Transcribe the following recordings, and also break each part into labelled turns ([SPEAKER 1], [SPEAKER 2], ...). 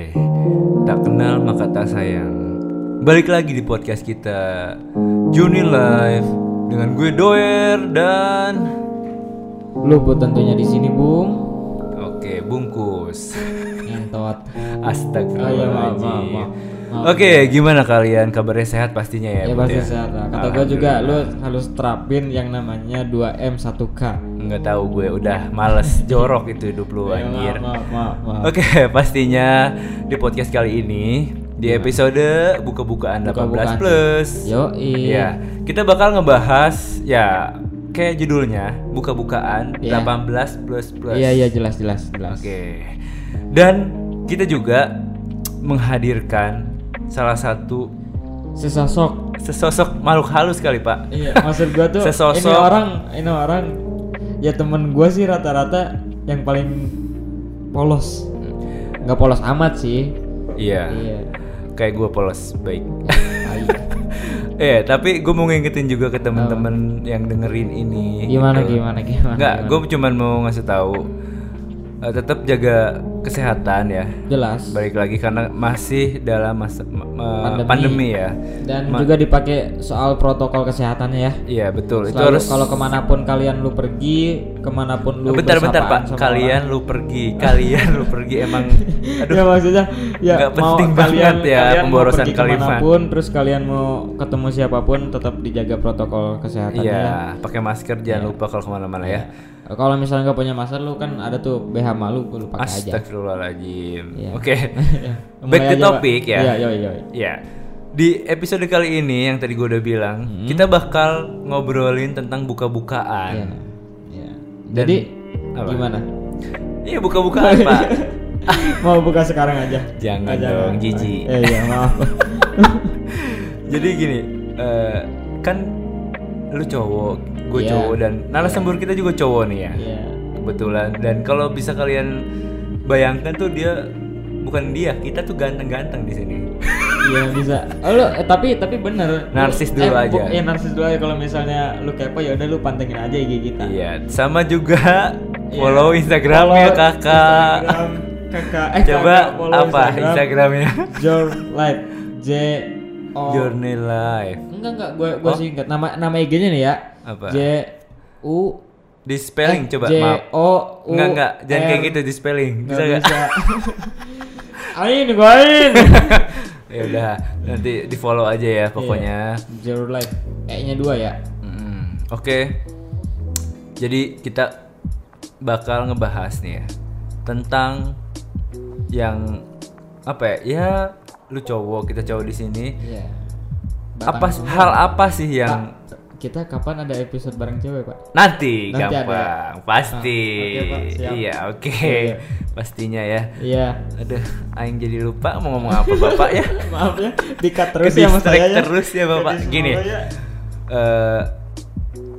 [SPEAKER 1] Eh, tak kenal maka tak sayang. Balik lagi di podcast kita Juni Live dengan gue Doer dan
[SPEAKER 2] Lubut tentunya di sini, Bung.
[SPEAKER 1] oke bungkus.
[SPEAKER 2] Ngentot. Oh, iya, maaf, maaf,
[SPEAKER 1] Astagfirullahaladzim.
[SPEAKER 2] maaf.
[SPEAKER 1] Oke, gimana kalian? Kabarnya sehat pastinya ya,
[SPEAKER 2] ya
[SPEAKER 1] Bud,
[SPEAKER 2] pasti sehat lah. Kata gue juga lu harus terapin yang namanya 2M 1K.
[SPEAKER 1] nggak tahu gue udah males jorok itu hidup lu
[SPEAKER 2] Ya,
[SPEAKER 1] anjir.
[SPEAKER 2] maaf, maaf, maaf.
[SPEAKER 1] Oke, pastinya di podcast kali ini di episode buka-bukaan 18
[SPEAKER 2] Iya. Buka-bukaan.
[SPEAKER 1] plus.
[SPEAKER 2] Yoi.
[SPEAKER 1] Ya, kita bakal ngebahas ya kayak judulnya buka-bukaan
[SPEAKER 2] Iya.
[SPEAKER 1] 18 plus plus.
[SPEAKER 2] Iya, iya jelas jelas jelas.
[SPEAKER 1] Oke. Dan kita juga menghadirkan salah satu
[SPEAKER 2] Sesosok.
[SPEAKER 1] sesosok makhluk halus kali, Pak.
[SPEAKER 2] Iya, maksud gue tuh
[SPEAKER 1] Sesosok.
[SPEAKER 2] ini orang ini orang ya temen gue sih rata-rata yang paling polos. Nggak polos amat sih.
[SPEAKER 1] Iya.
[SPEAKER 2] Iya.
[SPEAKER 1] Kayak gue polos baik.
[SPEAKER 2] Tai.
[SPEAKER 1] Eh, tapi gue mau ngingetin juga ke temen-temen yang dengerin ini.
[SPEAKER 2] Gimana
[SPEAKER 1] gitu.
[SPEAKER 2] gimana gimana.
[SPEAKER 1] Enggak, gue cuman mau ngasih tahu eh, tetap jaga kesehatan ya.
[SPEAKER 2] Jelas.
[SPEAKER 1] Balik lagi karena masih dalam masa ma- ma- pandemi.
[SPEAKER 2] Pandemi.
[SPEAKER 1] ya.
[SPEAKER 2] Dan
[SPEAKER 1] Ma-
[SPEAKER 2] juga dipakai soal protokol kesehatannya ya.
[SPEAKER 1] Iya betul. itu
[SPEAKER 2] Selalu
[SPEAKER 1] harus.
[SPEAKER 2] kalau kemanapun kalian lu pergi, kemanapun lu
[SPEAKER 1] Bentar-bentar
[SPEAKER 2] bersapaan
[SPEAKER 1] pak,
[SPEAKER 2] sama
[SPEAKER 1] kalian lu pergi, kalian lu pergi emang.
[SPEAKER 2] orang.
[SPEAKER 1] Aduh.
[SPEAKER 2] ya maksudnya ya
[SPEAKER 1] Nggak penting
[SPEAKER 2] kalian,
[SPEAKER 1] banget ya
[SPEAKER 2] kalian mau
[SPEAKER 1] pemborosan
[SPEAKER 2] pergi
[SPEAKER 1] kalimat.
[SPEAKER 2] kemanapun, terus kalian mau ketemu siapapun tetap dijaga protokol kesehatannya.
[SPEAKER 1] Iya, pakai masker jangan lupa kalau kemana-mana ya.
[SPEAKER 2] Iya, Kalau misalnya nggak punya masker lu kan ada tuh BH malu lu pakai aja.
[SPEAKER 1] Astagfirullahaladzim.
[SPEAKER 2] Iya.
[SPEAKER 1] Oke.
[SPEAKER 2] Mulai
[SPEAKER 1] Back to
[SPEAKER 2] aja, Pak.
[SPEAKER 1] topic ya.
[SPEAKER 2] Iya, yoi, yoi.
[SPEAKER 1] Ya. Di episode kali ini yang tadi gue udah bilang,
[SPEAKER 2] Mm-hmm.
[SPEAKER 1] kita bakal ngobrolin tentang
[SPEAKER 2] Iya.
[SPEAKER 1] buka-bukaan.
[SPEAKER 2] Iya. Jadi
[SPEAKER 1] Ah. apa?
[SPEAKER 2] gimana?
[SPEAKER 1] Iya, buka-bukaan, Pak.
[SPEAKER 2] mau buka sekarang aja.
[SPEAKER 1] Jangan
[SPEAKER 2] Ah,
[SPEAKER 1] dong, jijik.
[SPEAKER 2] Eh, iya, maaf.
[SPEAKER 1] Jadi gini, eh, kan lu cowok, gue
[SPEAKER 2] Iya.
[SPEAKER 1] cowok dan narasumber kita juga cowok nih ya.
[SPEAKER 2] Iya.
[SPEAKER 1] Kebetulan dan kalau bisa kalian bayangkan tuh dia bukan dia, kita tuh ganteng-ganteng di sini.
[SPEAKER 2] Iya bisa. Oh, lu, eh, tapi tapi bener. Lu-
[SPEAKER 1] Narsis dulu
[SPEAKER 2] eh, bu-
[SPEAKER 1] aja.
[SPEAKER 2] Iya narsis dulu aja kalau misalnya lu kepo ya udah lu pantengin aja IG kita.
[SPEAKER 1] Iya, sama juga
[SPEAKER 2] Iya.
[SPEAKER 1] follow Instagramnya
[SPEAKER 2] Follow
[SPEAKER 1] kakak.
[SPEAKER 2] Instagram kakak. Eh,
[SPEAKER 1] Coba
[SPEAKER 2] kakak, follow
[SPEAKER 1] apa Instagramnya?
[SPEAKER 2] Your Life J O.
[SPEAKER 1] Journey Life.
[SPEAKER 2] Enggak enggak gue gue singkat nama nama IG-nya nih ya.
[SPEAKER 1] Oh. Apa?
[SPEAKER 2] J U
[SPEAKER 1] Di spelling coba
[SPEAKER 2] Eh, J
[SPEAKER 1] maaf.
[SPEAKER 2] O U
[SPEAKER 1] Enggak enggak, jangan kayak
[SPEAKER 2] R.
[SPEAKER 1] gitu di spelling.
[SPEAKER 2] Nggak
[SPEAKER 1] Bisa enggak?
[SPEAKER 2] bisa. Ain gue ain.
[SPEAKER 1] ya udah, nanti di follow aja ya
[SPEAKER 2] Iya.
[SPEAKER 1] pokoknya.
[SPEAKER 2] Your Life. E-nya dua ya.
[SPEAKER 1] Mm-mm. Oke. Jadi kita bakal ngebahas nih ya tentang yang apa ya? Ya lu cowok, kita cowok di sini.
[SPEAKER 2] Iya.
[SPEAKER 1] Apa hal apa sih yang
[SPEAKER 2] Kita kapan ada episode bareng cewek, Pak?
[SPEAKER 1] Nanti,
[SPEAKER 2] Nanti ada
[SPEAKER 1] gampang, pasti.
[SPEAKER 2] Ah, oke, Pak, siap.
[SPEAKER 1] iya, oke.
[SPEAKER 2] Iya.
[SPEAKER 1] Pastinya ya.
[SPEAKER 2] Iya.
[SPEAKER 1] Aduh, aing jadi lupa mau ngomong apa Bapak ya.
[SPEAKER 2] Maaf ya, dikat terus
[SPEAKER 1] Ke
[SPEAKER 2] ya mas
[SPEAKER 1] distract
[SPEAKER 2] saya.
[SPEAKER 1] terus ya, Bapak.
[SPEAKER 2] Ke distract
[SPEAKER 1] Gini.
[SPEAKER 2] ya.
[SPEAKER 1] Eh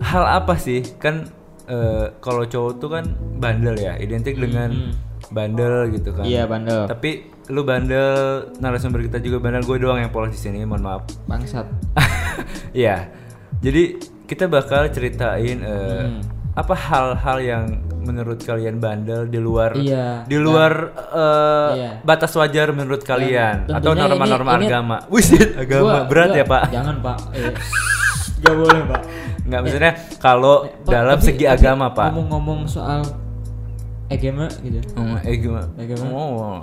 [SPEAKER 1] hal apa sih? Kan eh, kalau cowok tuh kan bandel ya, identik dengan bandel gitu kan.
[SPEAKER 2] Iya, bandel.
[SPEAKER 1] Tapi lu bandel, narasumber kita juga bandel, gue doang yang polos di sini, mohon maaf.
[SPEAKER 2] Bangsat.
[SPEAKER 1] Iya. Jadi kita bakal ceritain eh,
[SPEAKER 2] Hmm.
[SPEAKER 1] apa hal-hal yang menurut kalian bandel di luar
[SPEAKER 2] Iya.
[SPEAKER 1] di luar eh,
[SPEAKER 2] Iya.
[SPEAKER 1] batas wajar menurut kalian
[SPEAKER 2] tentunya
[SPEAKER 1] atau norma-norma
[SPEAKER 2] ini- ini-
[SPEAKER 1] agama. Wisit agama
[SPEAKER 2] Gua-
[SPEAKER 1] berat
[SPEAKER 2] gua-
[SPEAKER 1] ya, Pak.
[SPEAKER 2] Jangan pak. Eh, gak boleh pak.
[SPEAKER 1] Nggak maksudnya kalau
[SPEAKER 2] Iya. Pak,
[SPEAKER 1] dalam
[SPEAKER 2] tapi-
[SPEAKER 1] segi
[SPEAKER 2] tapi
[SPEAKER 1] agama, Pak.
[SPEAKER 2] Ngomong-ngomong soal agama gitu,
[SPEAKER 1] Hmm, eh, gimana?
[SPEAKER 2] Agama.
[SPEAKER 1] Oh.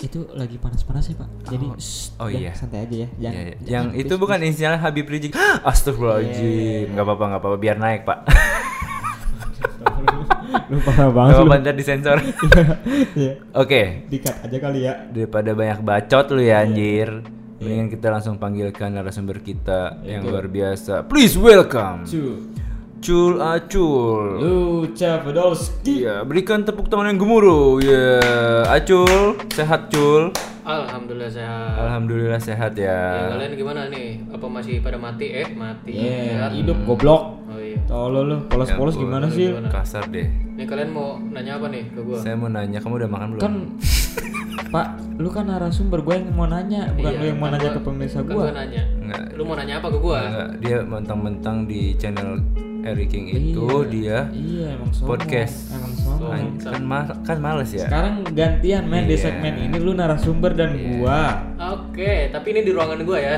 [SPEAKER 2] itu lagi panas-panas ya pak. Jadi shh,
[SPEAKER 1] oh,
[SPEAKER 2] udah,
[SPEAKER 1] iya.
[SPEAKER 2] santai aja ya.
[SPEAKER 1] Ya,
[SPEAKER 2] Jangan,
[SPEAKER 1] ya. yang itu bukan inisialnya Habib Rizik.
[SPEAKER 2] Iya.
[SPEAKER 1] Astagfirullahaladzim. Nggak apa-apa, nggak apa-apa. Biar naik, Pak.
[SPEAKER 2] lu parah
[SPEAKER 1] Nggak
[SPEAKER 2] banget lu.
[SPEAKER 1] apa-apa, ntar disensor. Oke.
[SPEAKER 2] Iya. Dikat aja kali ya.
[SPEAKER 1] daripada banyak bacot lu
[SPEAKER 2] Iya.
[SPEAKER 1] ya anjir. Mendingan kita langsung panggilkan narasumber kita yang luar biasa. Please welcome
[SPEAKER 2] Iya, Cu,
[SPEAKER 1] Cul Acul.
[SPEAKER 2] Luca Podolski.
[SPEAKER 1] Iya, berikan tepuk tangan yang gemuruh. Ya, Acul, sehat Cul.
[SPEAKER 3] Alhamdulillah sehat.
[SPEAKER 1] Alhamdulillah sehat
[SPEAKER 3] Ya,
[SPEAKER 1] ya.
[SPEAKER 3] kalian gimana nih? Apa masih pada mati? Eh, mati.
[SPEAKER 2] Iya,
[SPEAKER 3] Sehat?
[SPEAKER 2] hidup goblok.
[SPEAKER 3] Oh iya.
[SPEAKER 2] Tolol lu, polos-polos gimana sih?
[SPEAKER 1] Kasar deh.
[SPEAKER 3] Nih kalian mau nanya apa nih ke gua?
[SPEAKER 1] Saya mau nanya, kamu udah makan belum?
[SPEAKER 2] kan Pak, lu kan narasumber gue yang mau nanya, bukan lu yang mau nanya ke pemirsa
[SPEAKER 3] Kan
[SPEAKER 2] gue.
[SPEAKER 3] gua nanya.
[SPEAKER 1] Enggak.
[SPEAKER 3] Lu mau nanya apa ke gua?
[SPEAKER 1] Enggak, dia mentang-mentang di channel Eri King itu
[SPEAKER 2] Iya.
[SPEAKER 1] dia
[SPEAKER 2] Iya emang sombong.
[SPEAKER 1] podcast.
[SPEAKER 2] Emang sombong.
[SPEAKER 1] Kan, kan, ma- kan males ya.
[SPEAKER 2] Sekarang gantian men di
[SPEAKER 1] Iya.
[SPEAKER 2] segmen ini lu narasumber dan gua.
[SPEAKER 3] Oke, tapi ini di ruangan gua ya.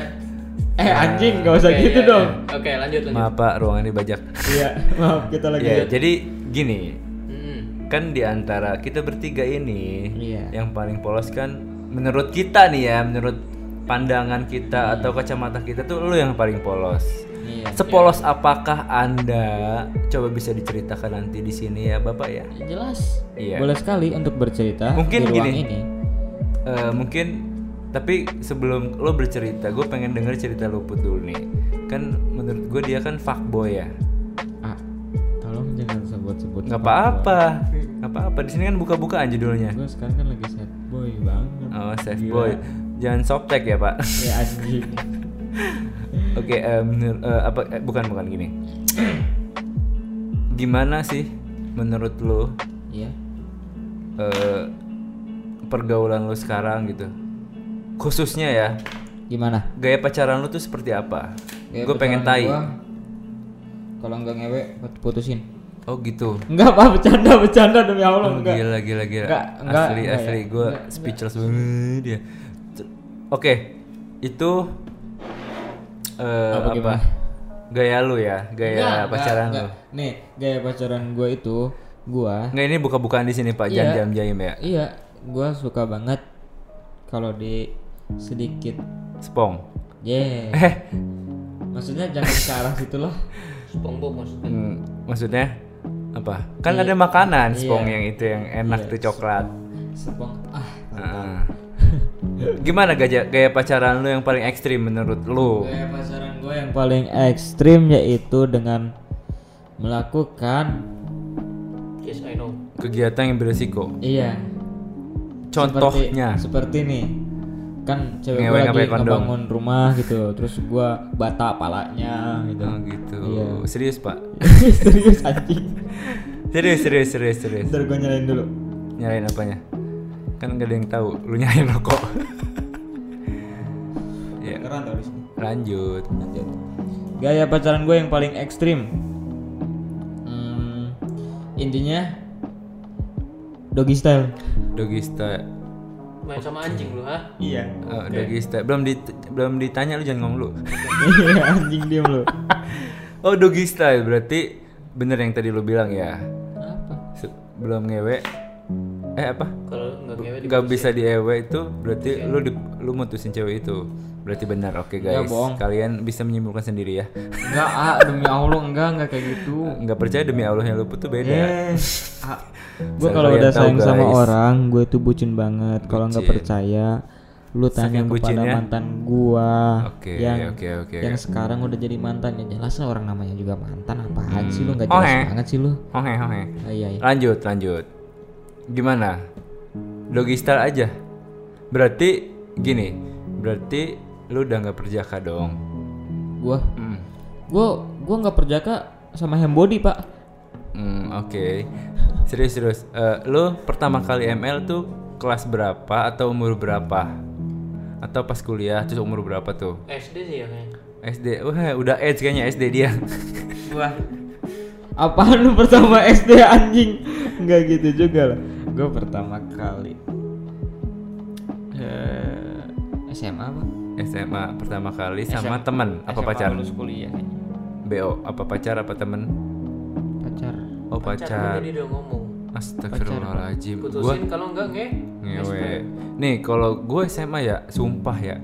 [SPEAKER 2] Eh anjing gak usah
[SPEAKER 3] Oke,
[SPEAKER 2] gitu
[SPEAKER 3] iya,
[SPEAKER 2] dong.
[SPEAKER 3] iya. Oke, lanjut lanjut.
[SPEAKER 1] Maaf Pak, ruangan dibajak.
[SPEAKER 2] Iya maaf kita lagi.
[SPEAKER 1] Ya, jadi gini,
[SPEAKER 3] Hmm.
[SPEAKER 1] kan di antara kita bertiga ini
[SPEAKER 2] Iya.
[SPEAKER 1] yang paling polos kan menurut kita nih ya, menurut pandangan kita atau kacamata kita tuh lu yang paling polos.
[SPEAKER 2] Iya.
[SPEAKER 1] Sepolos apakah Anda? Coba bisa diceritakan nanti di sini ya, Bapak ya.
[SPEAKER 2] Jelas.
[SPEAKER 1] Iya.
[SPEAKER 2] Boleh sekali untuk bercerita
[SPEAKER 1] Mungkin
[SPEAKER 2] di ruang
[SPEAKER 1] gini.
[SPEAKER 2] ini.
[SPEAKER 1] Eh, mungkin tapi sebelum lo bercerita, gue pengen denger cerita lo Put, dulu nih. Kan menurut gue dia kan fuckboy ya.
[SPEAKER 2] Ah, tolong jangan sebut-sebut.
[SPEAKER 1] Nggak apa-apa. Nggak apa-apa. Di sini kan buka-bukaan judulnya.
[SPEAKER 2] Gue sekarang kan lagi sad boy banget.
[SPEAKER 1] Oh, safe
[SPEAKER 2] Gila.
[SPEAKER 1] boy. Jangan softtek ya, Pak.
[SPEAKER 2] Ya anjing.
[SPEAKER 1] Oke, eh, menur- eh, apa eh, bukan bukan gini. Gimana sih menurut lo
[SPEAKER 2] Iya.
[SPEAKER 1] eh, pergaulan lo sekarang gitu? Khususnya ya,
[SPEAKER 2] Gimana?
[SPEAKER 1] gaya pacaran lo tuh seperti apa?
[SPEAKER 2] Gaya
[SPEAKER 1] Gue pengen
[SPEAKER 2] pacaran
[SPEAKER 1] tai.
[SPEAKER 2] gua, Kalau nggak ngewe put- putusin.
[SPEAKER 1] Oh gitu.
[SPEAKER 2] Enggak apa bercanda bercanda demi Allah
[SPEAKER 1] Oh,
[SPEAKER 2] enggak.
[SPEAKER 1] gila gila gila.
[SPEAKER 2] Enggak, enggak,
[SPEAKER 1] asli
[SPEAKER 2] enggak ya.
[SPEAKER 1] asli gue speechless banget dia. T- Oke, itu eh,
[SPEAKER 2] Apa
[SPEAKER 1] apa,
[SPEAKER 2] gimana?
[SPEAKER 1] Gaya lu ya, gaya
[SPEAKER 2] Enggak,
[SPEAKER 1] pacaran
[SPEAKER 2] enggak.
[SPEAKER 1] lu.
[SPEAKER 2] Nih, gaya pacaran gue itu gua
[SPEAKER 1] Nggak ini buka-bukaan di sini Pak Jam
[SPEAKER 2] Iya.
[SPEAKER 1] Jam Jaim ya.
[SPEAKER 2] iya, gua suka banget kalau di sedikit
[SPEAKER 1] Spong.
[SPEAKER 2] yeah.
[SPEAKER 1] Eh,
[SPEAKER 2] Maksudnya jangan ke arah situ lah.
[SPEAKER 3] SpongeBob maksudnya.
[SPEAKER 1] mm, maksudnya apa? Kan ada makanan spong
[SPEAKER 2] Hmm. Iya.
[SPEAKER 1] yang itu yang enak tuh coklat.
[SPEAKER 2] Sepong ah.
[SPEAKER 1] Heeh. Gimana gaya, gaya pacaran lu yang paling ekstrim menurut lu?
[SPEAKER 2] Gaya pacaran gue yang paling ekstrim yaitu dengan melakukan
[SPEAKER 3] Yes, I know.
[SPEAKER 1] Kegiatan yang beresiko.
[SPEAKER 2] iya
[SPEAKER 1] Contohnya.
[SPEAKER 2] seperti, seperti nih kan
[SPEAKER 1] Ngewe
[SPEAKER 2] cewek gue
[SPEAKER 1] nggak
[SPEAKER 2] lagi
[SPEAKER 1] pakai kondom.
[SPEAKER 2] ngebangun rumah gitu terus gua bata palanya gitu
[SPEAKER 1] Oh gitu.
[SPEAKER 2] Iya.
[SPEAKER 1] Serius, Pak.
[SPEAKER 2] serius anjing
[SPEAKER 1] Serius, serius, serius, serius.
[SPEAKER 2] ntar gue nyalain dulu
[SPEAKER 1] Nyalain apanya? Kan gak ada yang tahu. Lu nyalain rokok. ya,
[SPEAKER 2] Keran tau di sini
[SPEAKER 1] lanjut.
[SPEAKER 2] lanjut gaya pacaran gue yang paling ekstrim hmm, intinya doggy style
[SPEAKER 1] Doggy style.
[SPEAKER 3] Main sama anjing lu, ha?
[SPEAKER 2] iya
[SPEAKER 1] Eh, Doggy style. Belum dit- belum ditanya lu jangan ngomong lu.
[SPEAKER 2] Iya, anjing diem lu
[SPEAKER 1] Oh, doggy style berarti bener yang tadi lu bilang ya.
[SPEAKER 2] apa
[SPEAKER 1] Se- Belum ngewe. Eh apa?
[SPEAKER 3] Kalau nggak ngewe di
[SPEAKER 1] Gak bisa diewe itu
[SPEAKER 2] Iya.
[SPEAKER 1] berarti lu di- lu mutusin cewek itu. Berarti benar. Oke, guys.
[SPEAKER 2] bohong.
[SPEAKER 1] Kalian bisa menyimpulkan sendiri ya.
[SPEAKER 2] enggak ah demi allah enggak enggak kayak gitu
[SPEAKER 1] nggak percaya demi Allah yang luput tuh
[SPEAKER 2] Iya.
[SPEAKER 1] beda.
[SPEAKER 2] Yes.
[SPEAKER 1] Saya
[SPEAKER 2] gue Ya. kalau
[SPEAKER 1] kalian
[SPEAKER 2] udah
[SPEAKER 1] ah, tahu,
[SPEAKER 2] sayang sama
[SPEAKER 1] guys.
[SPEAKER 2] orang, gue tuh bucin banget. Kalau nggak
[SPEAKER 1] Bucin.
[SPEAKER 2] percaya, lu tanya
[SPEAKER 1] Saking
[SPEAKER 2] kepada
[SPEAKER 1] bucinnya.
[SPEAKER 2] mantan gua
[SPEAKER 1] ya? Oke,
[SPEAKER 2] yang
[SPEAKER 1] oke, oke.
[SPEAKER 2] yang sekarang udah jadi mantan ya jelas lah orang namanya juga mantan apaan sih lu nggak
[SPEAKER 1] Oh,
[SPEAKER 2] jelas
[SPEAKER 1] eh.
[SPEAKER 2] banget sih lu
[SPEAKER 1] Oke, oke.
[SPEAKER 2] Ah, iya, iya.
[SPEAKER 1] Lanjut, lanjut. Gimana? Doggy style aja. Berarti gini, berarti lu udah nggak perjaka dong.
[SPEAKER 2] gua
[SPEAKER 1] Hmm.
[SPEAKER 2] gua gua nggak perjaka sama Hembody pak
[SPEAKER 1] Hmm, oke. Serius, serius. Eh, lu pertama kali ML tuh kelas berapa atau umur berapa? Atau pas kuliah terus umur berapa tuh?
[SPEAKER 3] SD sih ya kayaknya.
[SPEAKER 1] SD. Wah, udah age kayaknya SD dia.
[SPEAKER 3] Wah.
[SPEAKER 2] apaan lu pertama SD anjing nggak gitu juga lah gua pertama kali eh, SMA pak
[SPEAKER 1] SMA pertama kali sama temen apa pacar?
[SPEAKER 2] lulus kuliah kayaknya.
[SPEAKER 1] BO apa pacar apa temen?
[SPEAKER 2] pacar
[SPEAKER 1] Oh pacar.
[SPEAKER 3] Jadi udah ngomong.
[SPEAKER 1] Astagfirullahaladzim Gue
[SPEAKER 3] Putusin kalau nggak nge.
[SPEAKER 1] ngewe Nih kalau gue SMA ya Sumpah ya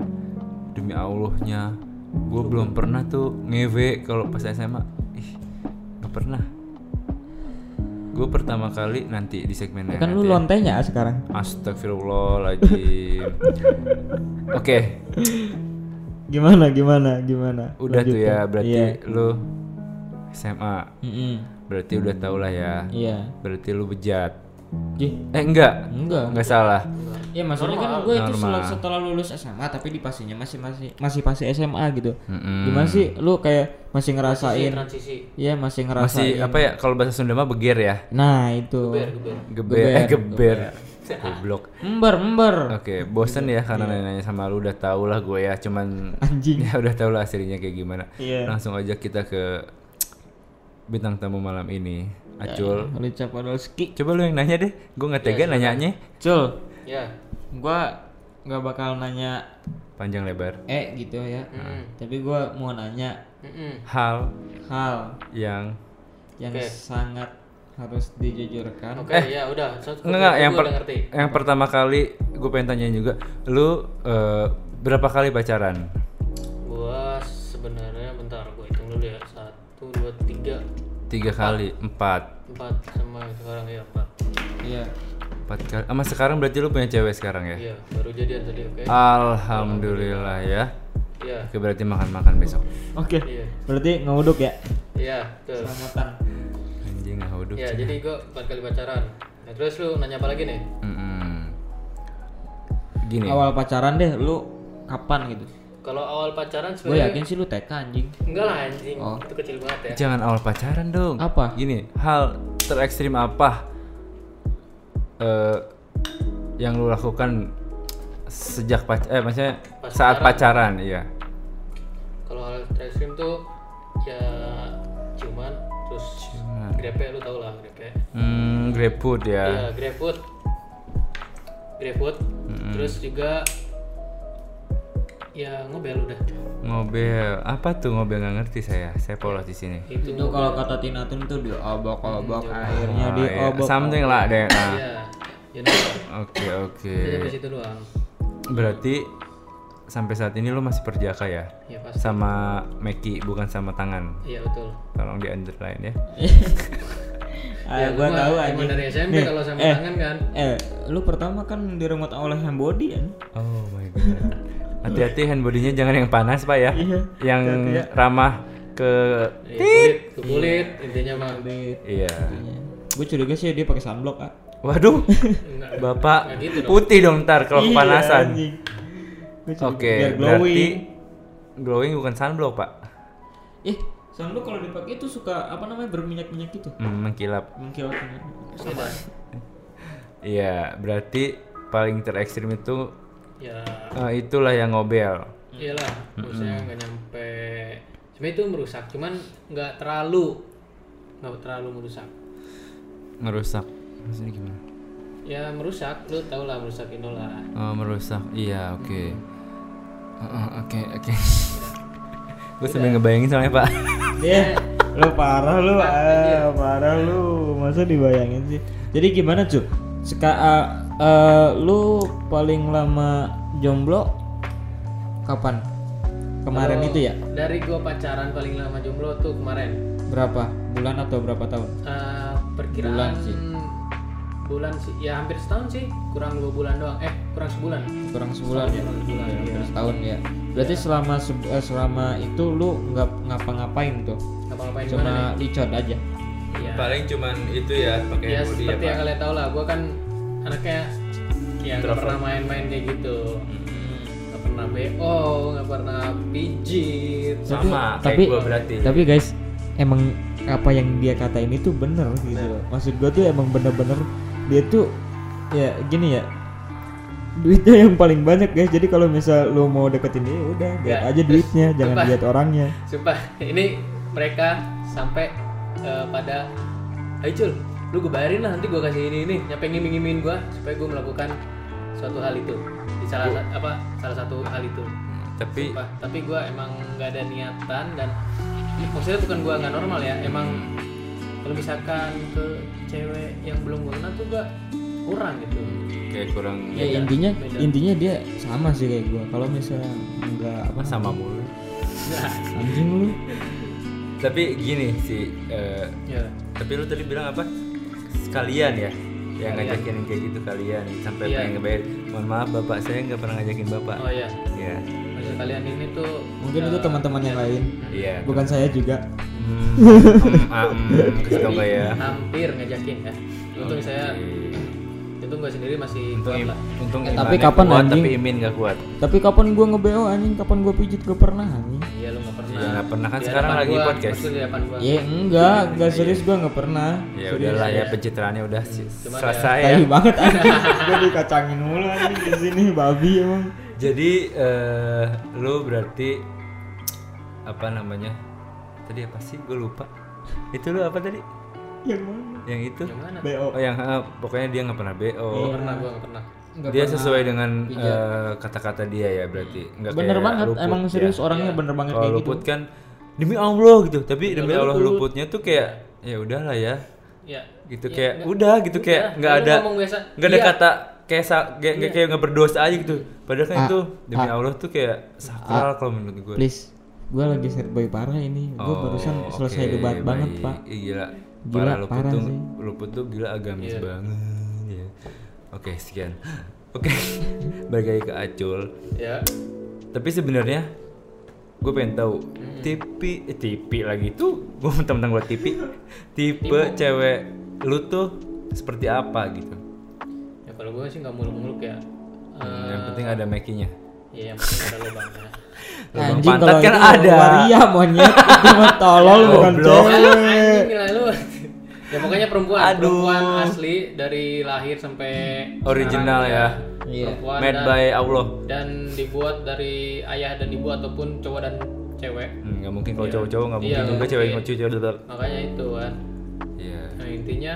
[SPEAKER 1] Demi Allahnya Gue belum pernah tuh ngewe kalau pas SMA Ih Gak pernah Gue pertama kali nanti di segmen yang
[SPEAKER 2] kan
[SPEAKER 1] nanti
[SPEAKER 2] lu
[SPEAKER 1] ya.
[SPEAKER 2] lontenya sekarang
[SPEAKER 1] Astagfirullahaladzim Oke
[SPEAKER 2] gimana gimana gimana
[SPEAKER 1] Udah
[SPEAKER 2] Lanjut,
[SPEAKER 1] tuh ya
[SPEAKER 2] Pak.
[SPEAKER 1] Berarti
[SPEAKER 2] iya
[SPEAKER 1] lu SMA
[SPEAKER 2] Mm-mm.
[SPEAKER 1] Berarti udah tau lah ya
[SPEAKER 2] iya
[SPEAKER 1] Berarti lu bejat
[SPEAKER 2] Ih,
[SPEAKER 1] Eh enggak
[SPEAKER 2] enggak
[SPEAKER 1] Enggak salah
[SPEAKER 2] ya maksudnya kan gue itu
[SPEAKER 1] Normal.
[SPEAKER 2] setelah, setelah lulus SMA tapi di pasinya masih masih masih pasti SMA gitu
[SPEAKER 1] Mm-mm.
[SPEAKER 2] gimana sih lu kayak masih
[SPEAKER 3] Transisi,
[SPEAKER 2] ngerasain
[SPEAKER 3] transisi.
[SPEAKER 2] Iya masih
[SPEAKER 1] masih
[SPEAKER 2] ngerasain
[SPEAKER 1] apa ya kalau bahasa Sunda mah beger ya
[SPEAKER 2] nah itu
[SPEAKER 3] Geber,
[SPEAKER 1] geber eh,
[SPEAKER 3] geber.
[SPEAKER 1] geber goblok
[SPEAKER 2] ember ember
[SPEAKER 1] oke bosen ya karena
[SPEAKER 3] Iya.
[SPEAKER 1] nanya sama lu udah tau lah gue ya cuman
[SPEAKER 2] anjing
[SPEAKER 1] ya udah tau lah hasilnya kayak gimana
[SPEAKER 2] Iya.
[SPEAKER 1] langsung aja kita ke bintang tamu malam ini
[SPEAKER 3] Ya, iya.
[SPEAKER 1] Acul
[SPEAKER 2] Lica Podolski.
[SPEAKER 1] coba lu yang nanya deh gue nggak tega nanyanya
[SPEAKER 2] Cul,
[SPEAKER 3] ya
[SPEAKER 2] gua nggak bakal nanya
[SPEAKER 1] panjang lebar
[SPEAKER 2] eh gitu ya.
[SPEAKER 3] Mm.
[SPEAKER 2] Tapi gua mau nanya
[SPEAKER 1] Nah.
[SPEAKER 3] Mm-mm.
[SPEAKER 1] hal
[SPEAKER 2] hal
[SPEAKER 1] yang
[SPEAKER 2] yang
[SPEAKER 3] Oke.
[SPEAKER 2] sangat harus dijujurkan.
[SPEAKER 3] Oke, ya udah. Satu
[SPEAKER 1] Eh. Enggak, enggak, yang,
[SPEAKER 3] gua
[SPEAKER 1] per-
[SPEAKER 3] udah ngerti.
[SPEAKER 1] yang pertama kali gue pengen tanyain juga, lu eh, berapa kali pacaran?
[SPEAKER 3] Gua sebenarnya bentar gua hitung dulu ya. Satu, dua, tiga,
[SPEAKER 1] Tiga kali, empat,
[SPEAKER 3] empat sama sekarang ya empat.
[SPEAKER 2] Iya.
[SPEAKER 1] empat kali. Sama sekarang berarti lu punya cewek sekarang ya?
[SPEAKER 3] Iya, baru jadian tadi, oke?
[SPEAKER 1] Ah. Alhamdulillah ya.
[SPEAKER 3] Iya.
[SPEAKER 1] Oke berarti makan-makan besok.
[SPEAKER 2] Oke.
[SPEAKER 3] Iya.
[SPEAKER 2] Berarti ngeuduk ya.
[SPEAKER 3] Iya, betul.
[SPEAKER 2] Selamatan.
[SPEAKER 1] Anjing ah, nggak uduk.
[SPEAKER 3] Ya, jadi gua empat kali pacaran. Nah, terus lu nanya apa lagi nih?
[SPEAKER 1] Mm-mm. Gini.
[SPEAKER 2] Awal pacaran deh lu kapan gitu?
[SPEAKER 3] Kalau awal
[SPEAKER 1] Oh,
[SPEAKER 3] pacaran
[SPEAKER 2] Gue
[SPEAKER 1] iya.
[SPEAKER 3] sebenarnya
[SPEAKER 2] yakin sih lu TK anjing.
[SPEAKER 3] enggak lah anjing.
[SPEAKER 2] Oh.
[SPEAKER 3] Itu kecil banget ya.
[SPEAKER 1] Jangan awal pacaran dong.
[SPEAKER 2] Apa?
[SPEAKER 1] Gini, hal terekstrim apa eh, yang lu lakukan sejak pac eh maksudnya
[SPEAKER 3] Pas
[SPEAKER 1] saat pacaran, iya.
[SPEAKER 3] Kalau hal ekstrim tuh ya cuman terus
[SPEAKER 1] Cuman.
[SPEAKER 3] grepe lu tau lah grepe.
[SPEAKER 1] Hmm, GrabFood ya.
[SPEAKER 3] Iya, GrabFood. GrabFood. Terus juga ya ngobel udah.
[SPEAKER 1] Ngobel. Apa tuh ngobel nggak ngerti saya. Saya polos di sini.
[SPEAKER 3] Itu
[SPEAKER 2] Itu kalau kata Tina Tun tuh diobok-obok akhirnya
[SPEAKER 1] Ah, iya.
[SPEAKER 2] diobok.
[SPEAKER 1] Something lah deh. nah.
[SPEAKER 3] ya. Ya udah.
[SPEAKER 1] Oke, oke.
[SPEAKER 3] Jadi habis itu doang.
[SPEAKER 1] Berarti sampai saat ini lu masih perjaka ya?
[SPEAKER 3] Ya pasti.
[SPEAKER 1] Sama Meki bukan sama tangan.
[SPEAKER 3] Iya betul.
[SPEAKER 1] Tolong di underline ya.
[SPEAKER 2] Ah,
[SPEAKER 3] Ya,
[SPEAKER 2] gua
[SPEAKER 3] gua
[SPEAKER 2] tahu
[SPEAKER 3] emang
[SPEAKER 2] anjing.
[SPEAKER 3] dari SMP
[SPEAKER 2] Nih,
[SPEAKER 3] kalau sama
[SPEAKER 2] eh,
[SPEAKER 3] tangan kan.
[SPEAKER 2] Eh, lu pertama kan diremat oleh Hambodi kan?
[SPEAKER 1] Oh my god. Hati-hati hand bodinya jangan yang panas pak ya.
[SPEAKER 2] Iya,
[SPEAKER 1] Yang ramah ke
[SPEAKER 3] Ya, kulit, ke kulit intinya mah.
[SPEAKER 1] iya.
[SPEAKER 2] Gue curiga sih dia pakai sunblock, ah.
[SPEAKER 1] Waduh.
[SPEAKER 3] Enggak.
[SPEAKER 1] Bapak
[SPEAKER 3] Nggak gitu dong.
[SPEAKER 1] putih dong ntar kalau Oh, kepanasan.
[SPEAKER 2] Iya, anjing. Gua curiga, biar
[SPEAKER 1] Oke, berarti glowing bukan sunblock, Pak.
[SPEAKER 2] Eh, sunblock kalau dipakai itu suka apa namanya berminyak-minyak gitu.
[SPEAKER 1] Hmm, mengkilap.
[SPEAKER 2] Mengkilat.
[SPEAKER 3] Sama.
[SPEAKER 1] Iya, berarti paling terekstrim itu
[SPEAKER 3] Ya,
[SPEAKER 1] eh, itulah yang ngobel.
[SPEAKER 3] iyalah. Maksudnya nggak nyampe. Sebenarnya itu merusak, cuman nggak terlalu nggak terlalu merusak.
[SPEAKER 1] Ngerusak. Maksudnya gimana?
[SPEAKER 3] Ya merusak, lu tau lah merusak Indo lah.
[SPEAKER 1] Oh, merusak. Iya, oke. Heeh, Oke, oke. Gue sambil ngebayangin soalnya, Pak.
[SPEAKER 3] Eh.
[SPEAKER 2] Ya, lu parah lu, ah, parah lu. Masa dibayangin sih. Jadi gimana, Cuk? Seka, ah, eh, lu paling lama jomblo kapan? Kemarin
[SPEAKER 3] Kalau
[SPEAKER 2] itu ya?
[SPEAKER 3] Dari gua pacaran paling lama jomblo tuh kemarin.
[SPEAKER 2] Berapa? Bulan atau berapa tahun?
[SPEAKER 3] Eh, perkiraan
[SPEAKER 2] Bulan sih.
[SPEAKER 3] bulan sih. ya hampir setahun sih kurang dua bulan doang eh kurang sebulan
[SPEAKER 2] Kurang sebulan ya.
[SPEAKER 3] Kurang sebulan Iya.
[SPEAKER 2] Hampir setahun ya. Berarti selama se- eh, selama itu lu nggak ngapa-ngapain tuh.
[SPEAKER 3] ngapa ngapain gimana
[SPEAKER 2] Cuma licot aja.
[SPEAKER 3] nih ya,
[SPEAKER 1] Iya. Paling cuman itu ya pakai
[SPEAKER 3] ya
[SPEAKER 1] body
[SPEAKER 3] seperti
[SPEAKER 1] ya,
[SPEAKER 3] yang
[SPEAKER 1] Pak.
[SPEAKER 3] kalian tau lah gua kan anaknya ya nggak
[SPEAKER 1] Introvert.
[SPEAKER 3] pernah main-main kayak gitu nggak pernah bo nggak pernah pijit
[SPEAKER 1] Sama kayak
[SPEAKER 2] tapi-
[SPEAKER 1] gua berarti.
[SPEAKER 2] Tapi guys, emang apa yang dia katain itu bener gitu. loh. Maksud gua tuh emang bener-bener dia tuh ya gini ya. Duitnya yang paling banyak guys. Jadi kalau misal lu mau deketin dia udah lihat
[SPEAKER 3] Ya,
[SPEAKER 2] aja
[SPEAKER 3] terus
[SPEAKER 2] duitnya, jangan
[SPEAKER 3] coba.
[SPEAKER 2] lihat orangnya.
[SPEAKER 3] sumpah ini mereka sampai eh, pada "Hai Cul, lu gue bayarin lah nanti gua kasih ini ini nyampe ngiming-ngimingin gua supaya gua melakukan suatu hal itu di salah sa- apa salah satu hal itu
[SPEAKER 1] Tapi
[SPEAKER 3] Sumpah, tapi gua emang nggak ada niatan dan ya, maksudnya bukan gua nggak normal ya emang kalau misalkan ke cewek yang belum gua kenal tuh gua kurang gitu
[SPEAKER 1] kayak kurang
[SPEAKER 2] Ya
[SPEAKER 3] Beda,
[SPEAKER 2] intinya
[SPEAKER 3] beda.
[SPEAKER 2] intinya dia sama sih kayak gua. Kalau misalnya enggak
[SPEAKER 1] apa
[SPEAKER 2] apa
[SPEAKER 1] sama mulu.
[SPEAKER 2] anjing lu.
[SPEAKER 1] Tapi gini sih, eh,
[SPEAKER 3] ya
[SPEAKER 1] tapi lu tadi bilang apa? Sekalian ya? Yang ngajakin kayak gitu kalian sampai
[SPEAKER 3] Iya.
[SPEAKER 1] pengen ngebayar. Mohon maaf bapak saya nggak pernah ngajakin bapak.
[SPEAKER 3] oh ya
[SPEAKER 1] Iya.
[SPEAKER 3] maksud kalian ini tuh
[SPEAKER 2] Mungkin
[SPEAKER 1] Ya.
[SPEAKER 2] itu teman-teman yang lain.
[SPEAKER 1] Iya.
[SPEAKER 2] Bukan saya juga.
[SPEAKER 1] Hmm, hmm, ah, hmm, kasih tau nggak ya?
[SPEAKER 3] hampir ngajakin ya untung saya untung gua sendiri masih
[SPEAKER 1] Untung,
[SPEAKER 3] kuat
[SPEAKER 1] im-
[SPEAKER 3] lah
[SPEAKER 1] untung
[SPEAKER 2] Eh, tapi
[SPEAKER 1] imannya
[SPEAKER 2] kapan,
[SPEAKER 1] kuat,
[SPEAKER 2] anjing?
[SPEAKER 1] tapi imin nggak kuat.
[SPEAKER 2] Tapi kapan gua nge-BO anjing, kapan gua pijit gua pernah anjing.
[SPEAKER 3] iya lu nggak pernah
[SPEAKER 1] Ya, nggak pernah kan
[SPEAKER 3] Di
[SPEAKER 1] sekarang
[SPEAKER 3] hadapan
[SPEAKER 1] lagi
[SPEAKER 3] gua,
[SPEAKER 1] podcast. Iya.
[SPEAKER 3] maksudnya di hadapan gua
[SPEAKER 2] Ya enggak, enggak serius gua nggak pernah.
[SPEAKER 1] Ya
[SPEAKER 2] Serius. Iya.
[SPEAKER 1] udahlah ya pencitraannya udah si-
[SPEAKER 3] Cuman
[SPEAKER 1] selesai ya.
[SPEAKER 2] Tai banget anjing. Eh, Gua dikacangin mulu anjing di sini babi emang.
[SPEAKER 1] Jadi eh, lu berarti apa namanya? Tadi apa sih? Gue lupa. itu lu apa tadi
[SPEAKER 2] Yang Iya, mana?
[SPEAKER 1] yang itu
[SPEAKER 3] yang mana
[SPEAKER 2] BO.
[SPEAKER 1] oh yang eh, pokoknya dia nggak pernah bo
[SPEAKER 3] nggak pernah gua nggak pernah
[SPEAKER 4] Nggak
[SPEAKER 1] dia
[SPEAKER 4] pernah.
[SPEAKER 1] sesuai dengan eh, kata-kata dia ya berarti nggak
[SPEAKER 2] Bener
[SPEAKER 1] kayak
[SPEAKER 2] banget,
[SPEAKER 1] luput,
[SPEAKER 2] emang
[SPEAKER 1] ya.
[SPEAKER 2] serius orangnya bener banget
[SPEAKER 1] kalau
[SPEAKER 2] kayak gitu. Iya,
[SPEAKER 1] luput kan demi allah gitu tapi demi allah luputnya tuh kayak ya udahlah ya
[SPEAKER 3] ya
[SPEAKER 1] gitu kayak udah gitu kayak nggak
[SPEAKER 3] Lu
[SPEAKER 1] ada
[SPEAKER 3] ngomong biasa,
[SPEAKER 1] nggak ada
[SPEAKER 3] iya.
[SPEAKER 1] kata kayak sa, kayak kayak- kayak nggak berdosa aja gitu padahal
[SPEAKER 2] Ah,
[SPEAKER 1] kan itu demi allah tuh kayak sakral kalau menurut gue
[SPEAKER 2] Please, gue lagi serboy parah ini. Gue
[SPEAKER 1] Oh,
[SPEAKER 2] barusan selesai
[SPEAKER 1] oke,
[SPEAKER 2] debat banget
[SPEAKER 1] baik.
[SPEAKER 2] pak.
[SPEAKER 1] Ih, gila
[SPEAKER 2] Gila,
[SPEAKER 1] parah luput
[SPEAKER 2] parah
[SPEAKER 1] tuh
[SPEAKER 2] sih.
[SPEAKER 1] luput tuh gila agamis
[SPEAKER 3] Iya.
[SPEAKER 1] banget ya oke sekian oke balik lagi ke acul
[SPEAKER 3] ya
[SPEAKER 1] tapi sebenarnya gue pengen tahu
[SPEAKER 3] Hmm.
[SPEAKER 1] tipi eh, tipi lagi tuh gue tentang gue tipi tipe cewek lu tuh seperti apa gitu
[SPEAKER 3] ya kalau gua sih nggak muluk-muluk ya
[SPEAKER 1] Hmm,
[SPEAKER 2] Eh,
[SPEAKER 1] yang penting ada makinya
[SPEAKER 3] ya yang penting ada lubangnya
[SPEAKER 1] lubang pantat kan
[SPEAKER 2] itu
[SPEAKER 1] ada
[SPEAKER 2] waria monyet itu mah tolol bukan
[SPEAKER 1] Goblok.
[SPEAKER 2] cewek.
[SPEAKER 3] anjing lah lu Eh. ya pokoknya perempuan
[SPEAKER 1] Aduh.
[SPEAKER 3] perempuan asli dari lahir sampai
[SPEAKER 1] original ya
[SPEAKER 2] Iya.
[SPEAKER 3] perempuan
[SPEAKER 1] made
[SPEAKER 3] dan,
[SPEAKER 1] by allah
[SPEAKER 3] dan dibuat dari ayah dan ibu ataupun cowok dan cewek
[SPEAKER 1] Hmm, nggak mungkin kalau cowok-cowok nggak mungkin
[SPEAKER 3] Iya,
[SPEAKER 1] juga
[SPEAKER 3] oke.
[SPEAKER 1] cewek ngoceh cewek tetap
[SPEAKER 3] makanya itu kan
[SPEAKER 1] iya
[SPEAKER 3] nah intinya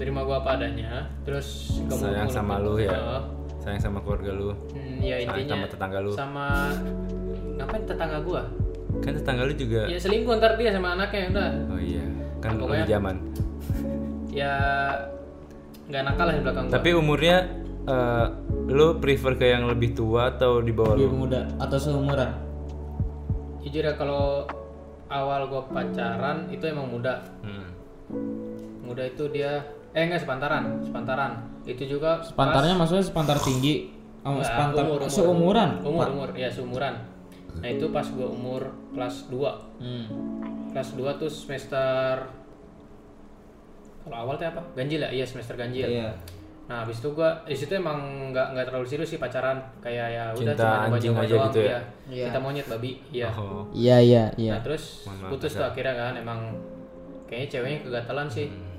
[SPEAKER 3] terima gua apa adanya terus nggak
[SPEAKER 1] sayang
[SPEAKER 3] muluk-muluk.
[SPEAKER 1] sama lu ya
[SPEAKER 3] Heeh.
[SPEAKER 1] sayang sama keluarga lu
[SPEAKER 3] Hmm, ya
[SPEAKER 1] sayang
[SPEAKER 3] intinya
[SPEAKER 1] sama tetangga lu
[SPEAKER 3] sama ngapain tetangga gua
[SPEAKER 1] kan tetangga lu juga
[SPEAKER 3] ya selingkuh ntar dia sama anaknya udah
[SPEAKER 1] oh iya kan
[SPEAKER 3] Nah,
[SPEAKER 1] lebih
[SPEAKER 3] pokoknya-
[SPEAKER 1] zaman
[SPEAKER 3] ya nggak nakal lah di belakang gua.
[SPEAKER 1] tapi umurnya eh, lu prefer ke yang lebih tua atau di bawah
[SPEAKER 2] Lebih
[SPEAKER 1] lu
[SPEAKER 2] muda atau seumuran.
[SPEAKER 3] jujur ya kalau awal gua pacaran itu emang muda
[SPEAKER 1] Hmm.
[SPEAKER 3] muda itu dia eh enggak sepantaran sepantaran itu juga
[SPEAKER 2] Pantarnya maksudnya sepantar tinggi. Oh,
[SPEAKER 3] Nggak,
[SPEAKER 2] sepantar
[SPEAKER 3] umur, umur.
[SPEAKER 2] seumuran.
[SPEAKER 3] pas, umur umur ya seumuran nah itu pas gua umur kelas 2
[SPEAKER 2] Hmm.
[SPEAKER 3] kelas 2 tuh semester kalau awal tuh apa ganjil ya iya semester ganjil
[SPEAKER 2] Iya.
[SPEAKER 3] nah habis itu gua di situ emang nggak nggak terlalu serius sih pacaran kayak ya udah
[SPEAKER 1] Cinta
[SPEAKER 3] cuma
[SPEAKER 1] anjing
[SPEAKER 3] nyoba-nyoba
[SPEAKER 1] aja
[SPEAKER 3] doang,
[SPEAKER 1] gitu ya?
[SPEAKER 3] iya. cinta monyet babi iya
[SPEAKER 1] Oh.
[SPEAKER 2] Iya iya iya.
[SPEAKER 3] Nah terus
[SPEAKER 1] Mohon maaf,
[SPEAKER 3] putus tuh akhirnya kan emang kayaknya ceweknya kegatalan sih.
[SPEAKER 1] Hmm.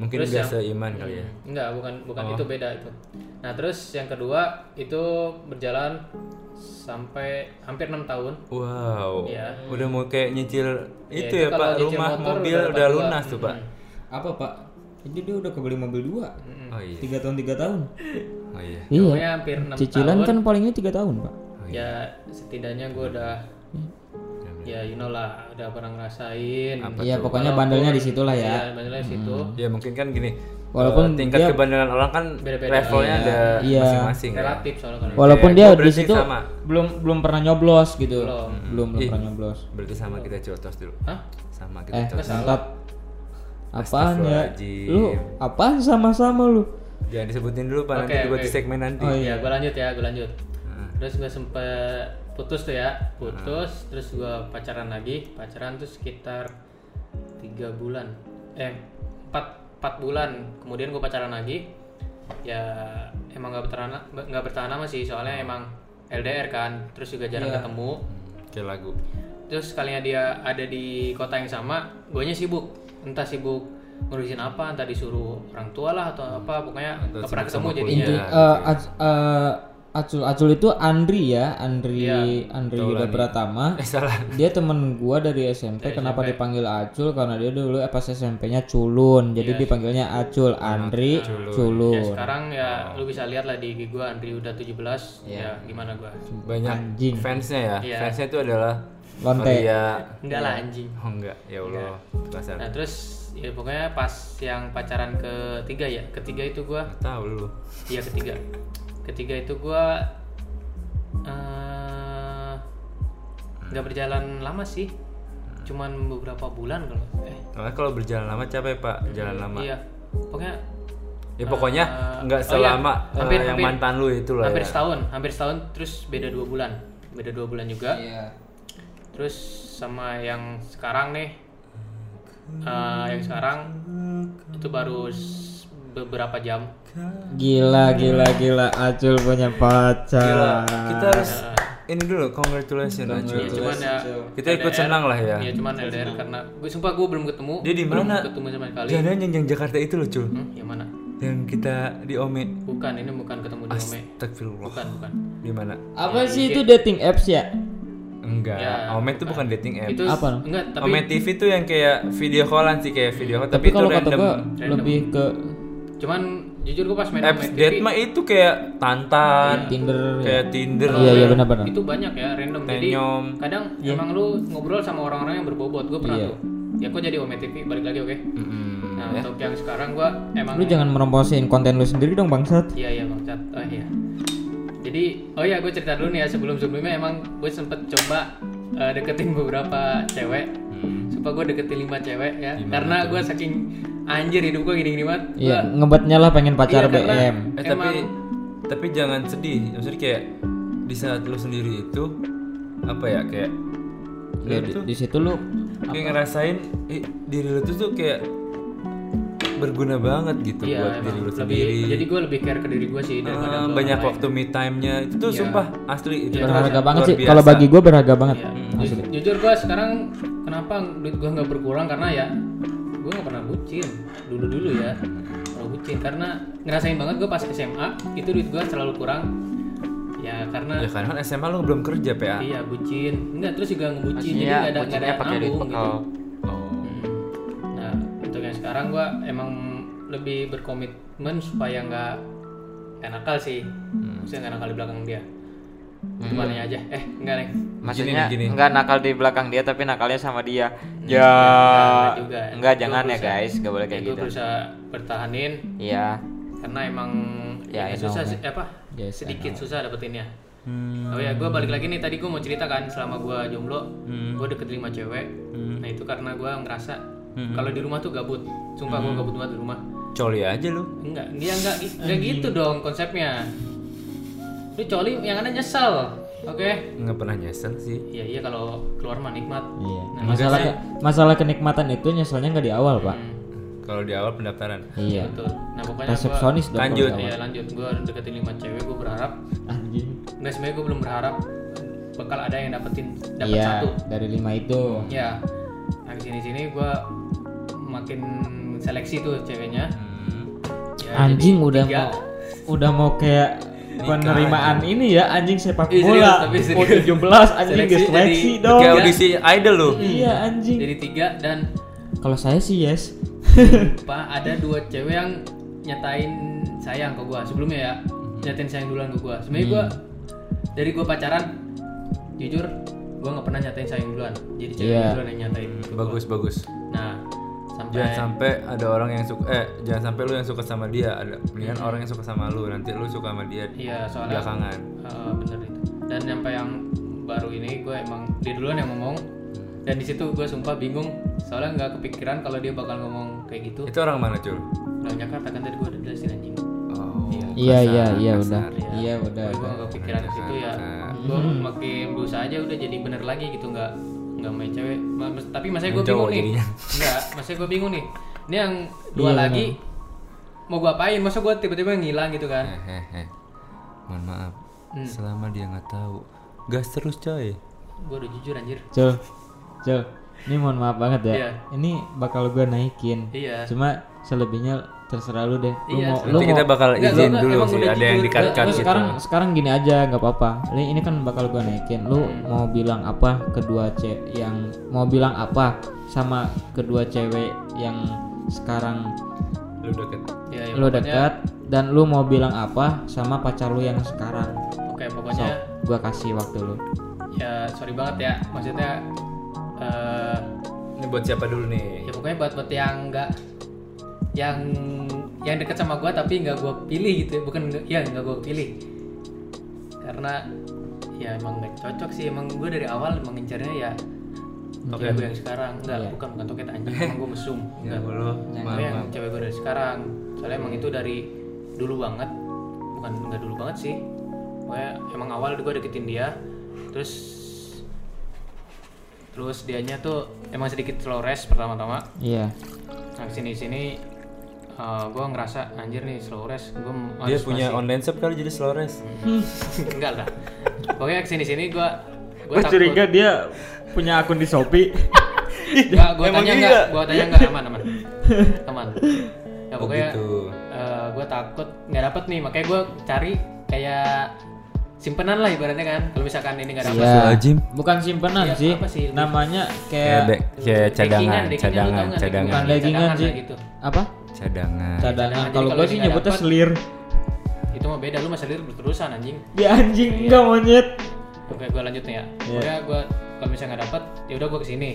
[SPEAKER 1] mungkin
[SPEAKER 3] Terus
[SPEAKER 1] nggak
[SPEAKER 3] yang-
[SPEAKER 1] seiman kali ya
[SPEAKER 3] Enggak, bukan bukan
[SPEAKER 2] Oh.
[SPEAKER 3] itu beda itu. Nah terus yang kedua itu berjalan sampai hampir enam tahun.
[SPEAKER 1] wow
[SPEAKER 3] Iya.
[SPEAKER 1] udah mau kayak nyicil
[SPEAKER 3] Ya,
[SPEAKER 1] itu ya,
[SPEAKER 3] kalau
[SPEAKER 1] pak
[SPEAKER 3] nyicil
[SPEAKER 1] rumah
[SPEAKER 3] motor
[SPEAKER 1] mobil udah,
[SPEAKER 3] dapat dua.
[SPEAKER 1] lunas tuh pak
[SPEAKER 3] Mm-mm.
[SPEAKER 2] Apa pak? Jadi dia udah kebeli mobil dua.
[SPEAKER 1] oh iya
[SPEAKER 2] Tiga tahun tiga tahun.
[SPEAKER 1] oh iya
[SPEAKER 3] Pokoknya hampir enam
[SPEAKER 2] Cicilan
[SPEAKER 3] tahun.
[SPEAKER 2] kan palingnya tiga tahun pak.
[SPEAKER 3] Ya setidaknya gue udah ya you know lah udah pernah ngerasain.
[SPEAKER 2] Iya pokoknya bandelnya di situ lah ya.
[SPEAKER 3] Ya, bandelnya situ.
[SPEAKER 1] ya mungkin kan gini
[SPEAKER 2] Walaupun
[SPEAKER 1] eh, tingkat
[SPEAKER 2] dia-
[SPEAKER 1] kebandelan orang kan
[SPEAKER 3] Beda-beda.
[SPEAKER 1] levelnya ada
[SPEAKER 2] Iya.
[SPEAKER 1] masing-masing ya.
[SPEAKER 3] Relatif soalnya kan.
[SPEAKER 2] Walaupun
[SPEAKER 1] Kayak
[SPEAKER 2] dia
[SPEAKER 1] gua
[SPEAKER 2] di
[SPEAKER 1] berarti
[SPEAKER 2] situ
[SPEAKER 1] sama.
[SPEAKER 2] belum belum pernah nyoblos gitu.
[SPEAKER 3] Belum.
[SPEAKER 2] Belum belum
[SPEAKER 1] Ih.
[SPEAKER 2] pernah nyoblos.
[SPEAKER 1] berarti sama kita cotos dulu
[SPEAKER 3] Hah?
[SPEAKER 1] sama kita
[SPEAKER 2] Eh,
[SPEAKER 1] cotos
[SPEAKER 2] mantap. Apaan ya?
[SPEAKER 1] Astagfirullahaladzim.
[SPEAKER 2] Lu apaan sama-sama lu?
[SPEAKER 1] jangan disebutin dulu pak nanti
[SPEAKER 3] Oke,
[SPEAKER 1] buat
[SPEAKER 3] oke.
[SPEAKER 1] di segmen nanti
[SPEAKER 2] Oh,
[SPEAKER 3] ya gue lanjut ya gue lanjut terus gue sempet putus tuh ya putus terus gue pacaran lagi pacaran tuh sekitar tiga bulan eh empat empat bulan kemudian gue pacaran lagi ya emang nggak bertahan nggak bertahan lama sih soalnya emang LDR kan terus juga jarang ketemu
[SPEAKER 1] kayak lagu
[SPEAKER 3] terus sekalinya dia ada di kota yang sama guanya sibuk entah sibuk ngurusin apa entah disuruh orang tua lah atau apa pokoknya nggak pernah ketemu jadinya
[SPEAKER 2] Inti eh, ac- eh, Acul Acul itu Andri ya, Andri Andri Yuda Pratama.
[SPEAKER 1] eh salah
[SPEAKER 2] Dia temen gua dari SMP. Kenapa dipanggil Acul? Karena dia dulu eh, pas SMP-nya culun. Jadi dipanggilnya Acul, Andri
[SPEAKER 3] ya
[SPEAKER 2] culun.
[SPEAKER 3] sekarang ya lu bisa lihat lah di IG gua Andri udah 17
[SPEAKER 1] Iya.
[SPEAKER 3] ya gimana gua
[SPEAKER 1] banyak
[SPEAKER 2] Anjing.
[SPEAKER 1] fansnya ya
[SPEAKER 3] Iya.
[SPEAKER 1] fansnya itu adalah
[SPEAKER 2] Lonte.
[SPEAKER 1] Maria
[SPEAKER 3] enggak lah anjing
[SPEAKER 1] oh enggak ya allah kasar
[SPEAKER 3] nah terus ya pokoknya pas yang pacaran ketiga ya ketiga itu gua
[SPEAKER 1] Nggak tahu lu
[SPEAKER 3] iya ketiga ketiga itu gua eh, nggak berjalan lama sih cuman beberapa bulan kalau eh
[SPEAKER 1] Soalnya kalau berjalan lama capek pak jalan lama
[SPEAKER 3] iya pokoknya
[SPEAKER 1] ya pokoknya nggak
[SPEAKER 3] oh iya.
[SPEAKER 1] selama eh,
[SPEAKER 3] Hampir,
[SPEAKER 1] yang
[SPEAKER 3] hampir.
[SPEAKER 1] mantan lu itulah
[SPEAKER 3] hampir
[SPEAKER 1] ya
[SPEAKER 3] setahun hampir setahun terus beda dua bulan beda dua bulan juga
[SPEAKER 2] Iya.
[SPEAKER 3] Terus sama yang sekarang nih, eh, yang sekarang itu baru s- beberapa jam.
[SPEAKER 2] Gila gila gila Acul punya
[SPEAKER 1] Gila,
[SPEAKER 2] pacar.
[SPEAKER 1] kita harus
[SPEAKER 3] Eh.
[SPEAKER 1] ini dulu congratulations Najwa.
[SPEAKER 3] Ya, cuman ya,
[SPEAKER 1] kita ikut senang lah ya
[SPEAKER 3] ya cuman LDR karena gue sumpah gue belum ketemu.
[SPEAKER 1] Dia di
[SPEAKER 3] belum
[SPEAKER 1] mana?
[SPEAKER 3] Ketemu sama sekali.
[SPEAKER 1] Jangan yang, yang Jakarta itu loh cul
[SPEAKER 3] Hmm, yang mana?
[SPEAKER 1] yang kita di Ome
[SPEAKER 3] Bukan, ini bukan ketemu di Ome.
[SPEAKER 1] Astagfirullah
[SPEAKER 3] Bukan, bukan.
[SPEAKER 1] di mana
[SPEAKER 2] Apa sih itu dating apps ya?
[SPEAKER 1] Enggak, enggak
[SPEAKER 3] Ya,
[SPEAKER 1] Omet tuh bukan dating app
[SPEAKER 3] Itu
[SPEAKER 2] Apa?
[SPEAKER 3] enggak, tapi
[SPEAKER 1] Omet TV tuh yang kayak video callan sih kayak video call tapi,
[SPEAKER 2] tapi
[SPEAKER 1] itu
[SPEAKER 2] kalau kata
[SPEAKER 1] random
[SPEAKER 2] gua
[SPEAKER 3] Random.
[SPEAKER 2] lebih ke
[SPEAKER 3] cuman jujur gue pas main
[SPEAKER 1] apps
[SPEAKER 3] Omet
[SPEAKER 1] date
[SPEAKER 3] TV,
[SPEAKER 1] mah itu kayak tantan
[SPEAKER 2] Tinder
[SPEAKER 1] kayak Tinder
[SPEAKER 2] Iya iya benar-benar.
[SPEAKER 3] itu banyak ya random jadi
[SPEAKER 1] Tenyom.
[SPEAKER 3] kadang
[SPEAKER 1] Iya.
[SPEAKER 3] emang lu ngobrol sama orang-orang yang berbobot gue pernah tuh ya gue jadi Omet TV balik lagi oke
[SPEAKER 1] Mm-mm.
[SPEAKER 3] nah untuk yang sekarang gue emang
[SPEAKER 2] Lu jangan meromposin konten lu sendiri dong bangsat.
[SPEAKER 3] Iya iya bang Cat. Oh iya. Jadi oh iya gue cerita dulu nih ya sebelum sebelumnya emang gue sempet coba eh, deketin beberapa cewek.
[SPEAKER 1] Hmm.
[SPEAKER 3] Supaya gue deketin lima cewek ya. karena gue saking anjir hidup gue gini-gini banget.
[SPEAKER 2] Iya, ngebatnya lah pengen pacar
[SPEAKER 4] kan,
[SPEAKER 2] Ya,
[SPEAKER 3] Iya, karena-
[SPEAKER 2] BM.
[SPEAKER 1] Eh, tapi tapi jangan sedih maksudnya kayak di saat lu sendiri itu apa ya kayak
[SPEAKER 4] Iya,
[SPEAKER 2] Ya, di, di situ lu
[SPEAKER 1] kayak ngerasain eh, diri lu tuh tuh kayak berguna banget gitu
[SPEAKER 3] Iya
[SPEAKER 1] buat diri
[SPEAKER 3] emang
[SPEAKER 1] lu
[SPEAKER 3] lebih.
[SPEAKER 1] sendiri
[SPEAKER 3] Jadi gue lebih care ke diri gue sih daripada
[SPEAKER 1] Ah,
[SPEAKER 3] ke
[SPEAKER 1] banyak
[SPEAKER 3] orang Iya.
[SPEAKER 1] waktu me time-nya itu tuh sumpah asli itu tuh
[SPEAKER 2] berharga
[SPEAKER 1] luar
[SPEAKER 2] banget sih.
[SPEAKER 1] biasa.
[SPEAKER 2] Kalau bagi gua berharga banget.
[SPEAKER 3] lain. Iya. Ju- Jujur gue sekarang kenapa duit gue nggak berkurang karena ya gue nggak pernah bucin dulu dulu ya kalau bucin karena ngerasain banget gue pas SMA itu duit gue selalu kurang ya karena
[SPEAKER 1] ya karena kan SMA lu belum kerja ya? PA
[SPEAKER 3] Iya bucin. Enggak terus juga ngebucin jadi
[SPEAKER 4] Maksudnya
[SPEAKER 3] nggak ada nggak ada
[SPEAKER 4] kucingnya Iya, pakai duit
[SPEAKER 3] nabung gitu.
[SPEAKER 4] bekal.
[SPEAKER 1] oh
[SPEAKER 3] Hmm. Nah untuk yang sekarang gua emang lebih berkomitmen supaya nggak nggak nakal sih.
[SPEAKER 4] Hmm.
[SPEAKER 3] Maksudnya nggak nakal di belakang dia. Itu mana aja. Eh enggak neng.
[SPEAKER 4] Maksudnya
[SPEAKER 1] gini.
[SPEAKER 4] enggak nakal di belakang dia tapi nakalnya sama dia. Ya.
[SPEAKER 3] Enggak Iya, juga.
[SPEAKER 4] Enggak
[SPEAKER 3] Gua
[SPEAKER 4] jangan ya
[SPEAKER 3] berusaha-
[SPEAKER 4] guys, enggak boleh kayak
[SPEAKER 3] Gue
[SPEAKER 4] gitu.
[SPEAKER 3] berusaha bertahanin
[SPEAKER 4] Iya.
[SPEAKER 3] karena emang
[SPEAKER 4] Ya, I
[SPEAKER 3] ya,
[SPEAKER 4] know,
[SPEAKER 3] susah sih apa
[SPEAKER 2] Yes, I
[SPEAKER 3] sedikit susah dapetinnya. Oh ya, gue balik lagi nih tadi gue mau cerita kan selama gue jomblo, gue deket lima cewek. Nah itu karena gue ngerasa kalau di rumah tuh gabut, sumpah gue gabut banget di rumah.
[SPEAKER 1] coli aja lu
[SPEAKER 3] Enggak, dia enggak, enggak gitu dong konsepnya. Lu coli yang ada nyesel, oke?
[SPEAKER 1] nggak pernah nyesel sih
[SPEAKER 3] Iya iya kalau keluar mah nikmat.
[SPEAKER 2] Iya.
[SPEAKER 3] Nah,
[SPEAKER 2] Masalah ke- masalah kenikmatan itu nyeselnya nggak di awal, Pak.
[SPEAKER 1] kalau di awal pendaftaran
[SPEAKER 2] Iya.
[SPEAKER 3] Hmm, Betul. Nah pokoknya gue,
[SPEAKER 2] Resepsionis dong. kalau
[SPEAKER 1] Lanjut.
[SPEAKER 2] di awal.
[SPEAKER 3] ya lanjut gue deketin lima cewek, gue berharap.
[SPEAKER 2] Anjing.
[SPEAKER 3] Enggak sebenarnya gue belum berharap bakal ada yang dapetin dapat
[SPEAKER 2] Iya,
[SPEAKER 3] satu.
[SPEAKER 2] dari lima itu.
[SPEAKER 3] Ya, nah sini sini gue makin seleksi tuh ceweknya. Ya,
[SPEAKER 2] Anjing
[SPEAKER 3] jadi
[SPEAKER 2] udah
[SPEAKER 3] tiga.
[SPEAKER 2] mau udah mau kayak penerimaan ini ya anjing sepak
[SPEAKER 3] Iya, serius,
[SPEAKER 2] bola.
[SPEAKER 3] tapi serius.
[SPEAKER 2] Mau 17 anjing
[SPEAKER 3] Seleksi
[SPEAKER 2] seleksi, seleksi
[SPEAKER 3] jadi-
[SPEAKER 2] dong.
[SPEAKER 1] kayak audisi idol lu
[SPEAKER 2] Iya anjing.
[SPEAKER 3] Jadi tiga dan
[SPEAKER 2] Kalau saya sih yes.
[SPEAKER 3] pak ada dua cewek yang nyatain sayang ke gue sebelumnya ya nyatain sayang duluan ke gue. Sebenarnya gue
[SPEAKER 2] Hmm.
[SPEAKER 3] dari gue pacaran jujur gue nggak pernah nyatain sayang duluan. Jadi cewek
[SPEAKER 2] Iya.
[SPEAKER 3] duluan yang nyatain.
[SPEAKER 1] bagus bagus
[SPEAKER 3] Nah sampai
[SPEAKER 1] jangan sampai ada orang yang suka eh jangan sampai lu yang suka sama dia ada mendingan orang yang suka sama lu nanti lu suka sama dia
[SPEAKER 3] iya soalnya
[SPEAKER 1] belakangan
[SPEAKER 3] Eh, bener itu dan nyampe yang baru ini gue emang dia duluan yang ngomong dan di situ gue sumpah bingung soalnya nggak kepikiran kalau dia bakal ngomong kayak gitu
[SPEAKER 1] itu orang mana cul
[SPEAKER 3] nah Jakarta kan tadi gue udah jelasin anjing
[SPEAKER 1] oh
[SPEAKER 2] Iya
[SPEAKER 1] kasar,
[SPEAKER 2] iya iya
[SPEAKER 1] kasar.
[SPEAKER 2] udah. Iya udah.
[SPEAKER 3] gue
[SPEAKER 2] udah.
[SPEAKER 3] nggak kepikiran ke situ ya gue makin berusaha aja udah jadi bener lagi gitu nggak nggak main cewek Ma- mas- tapi masanya gue
[SPEAKER 1] Main cowok
[SPEAKER 3] bingung nih
[SPEAKER 1] jadinya.
[SPEAKER 3] nggak masanya gue bingung nih ini yang dua
[SPEAKER 2] Iya,
[SPEAKER 3] lagi mau gue apain masa gue tiba-tiba ngilang gitu
[SPEAKER 2] Iya.
[SPEAKER 3] kan
[SPEAKER 1] Hehehe. Mohon maaf.
[SPEAKER 3] Hmm.
[SPEAKER 1] Selama dia nggak tahu, gas terus coy.
[SPEAKER 3] gue udah jujur anjir
[SPEAKER 2] Cul. Cul. Ini mohon maaf banget ya.
[SPEAKER 3] Iya.
[SPEAKER 2] Ini bakal gue naikin.
[SPEAKER 3] iya
[SPEAKER 2] Cuma selebihnya terserah lu deh. Lu
[SPEAKER 3] Iya,
[SPEAKER 2] mau lu
[SPEAKER 1] Nanti kita
[SPEAKER 2] mau
[SPEAKER 1] bakal
[SPEAKER 3] Nggak,
[SPEAKER 1] izin
[SPEAKER 3] nggak,
[SPEAKER 1] dulu
[SPEAKER 3] emang
[SPEAKER 1] sih
[SPEAKER 3] udah
[SPEAKER 1] ada yang
[SPEAKER 3] jujur.
[SPEAKER 1] dikat cut
[SPEAKER 2] Lu
[SPEAKER 1] gitu.
[SPEAKER 2] sekarang sekarang gini aja nggak apa-apa. Ini ini kan bakal gue naikin. Lu
[SPEAKER 3] Hmm.
[SPEAKER 2] mau bilang apa kedua cewek yang mau bilang apa sama kedua cewek yang sekarang
[SPEAKER 1] Lu deket.
[SPEAKER 3] ya, ya
[SPEAKER 2] lu
[SPEAKER 3] pokoknya-
[SPEAKER 2] dekat dan lu mau bilang apa sama pacar lu yang sekarang.
[SPEAKER 3] oke
[SPEAKER 2] So,
[SPEAKER 3] pokoknya
[SPEAKER 2] gue kasih waktu lu.
[SPEAKER 3] ya sorry banget ya maksudnya eh
[SPEAKER 1] Ini buat siapa dulu nih?
[SPEAKER 3] ya pokoknya buat buat yang nggak yang yang deket sama gua tapi nggak gua pilih gitu ya bukan nggak- ya nggak gua pilih karena ya emang nggak cocok sih emang gua dari awal emang ngincarnya ya cewek
[SPEAKER 1] Oke.
[SPEAKER 3] gua yang sekarang enggak bukan bukan toket anjing emang gua mesum
[SPEAKER 1] Ya
[SPEAKER 3] enggak
[SPEAKER 1] dulu.
[SPEAKER 3] Gua Nah, yang cewek gua dari sekarang soalnya emang itu dari dulu banget bukan nggak dulu banget sih pokoknya emang awal gua deketin dia terus terus dianya tuh emang sedikit flores pertama-tama
[SPEAKER 2] Iya.
[SPEAKER 3] Nah sini sini gue ngerasa anjir nih slow rest gue
[SPEAKER 1] Dia punya online shop kali jadi slow rest.
[SPEAKER 3] Iya. enggak lah pokoknya kesini sini gue gue
[SPEAKER 2] Gue curiga dia punya akun di Shopee.
[SPEAKER 3] enggak gue
[SPEAKER 1] Emang
[SPEAKER 3] tanya
[SPEAKER 1] iya?
[SPEAKER 3] enggak gue tanya enggak aman aman aman ya
[SPEAKER 1] Oh
[SPEAKER 3] pokoknya eh,
[SPEAKER 1] gitu.
[SPEAKER 3] gue takut nggak dapet nih makanya gue cari kayak simpenan lah ibaratnya kan kalau misalkan ini nggak dapat
[SPEAKER 2] Iya.
[SPEAKER 1] Astagfirullahaladzim.
[SPEAKER 2] Bukan simpenan
[SPEAKER 3] Iya,
[SPEAKER 2] sih.
[SPEAKER 3] apa sih?
[SPEAKER 2] Namanya
[SPEAKER 1] Kayak
[SPEAKER 2] kayak
[SPEAKER 1] de- kayak
[SPEAKER 3] Dagingan,
[SPEAKER 1] cadangan,
[SPEAKER 3] dagingan,
[SPEAKER 1] cadangan,
[SPEAKER 3] lu tau nggak?
[SPEAKER 1] cadangan,
[SPEAKER 2] bukan dagingan
[SPEAKER 3] cadangan
[SPEAKER 2] sih.
[SPEAKER 3] lah gitu.
[SPEAKER 2] Apa?
[SPEAKER 1] cadangan.
[SPEAKER 3] cadangan.
[SPEAKER 2] Cadangan.
[SPEAKER 3] Jadi
[SPEAKER 2] Kalau
[SPEAKER 3] kalau
[SPEAKER 2] gue
[SPEAKER 3] ini
[SPEAKER 2] sih
[SPEAKER 3] nggak
[SPEAKER 2] nyebutnya
[SPEAKER 3] dapet-
[SPEAKER 2] selir.
[SPEAKER 1] Iya.
[SPEAKER 3] itu mah beda lu masih lirik berterusan anjing
[SPEAKER 2] Ya anjing enggak monyet.
[SPEAKER 3] oke gue lanjut
[SPEAKER 1] Iya.
[SPEAKER 3] nih ya pokoknya gue kalau misalnya nggak dapat ya udah gue kesini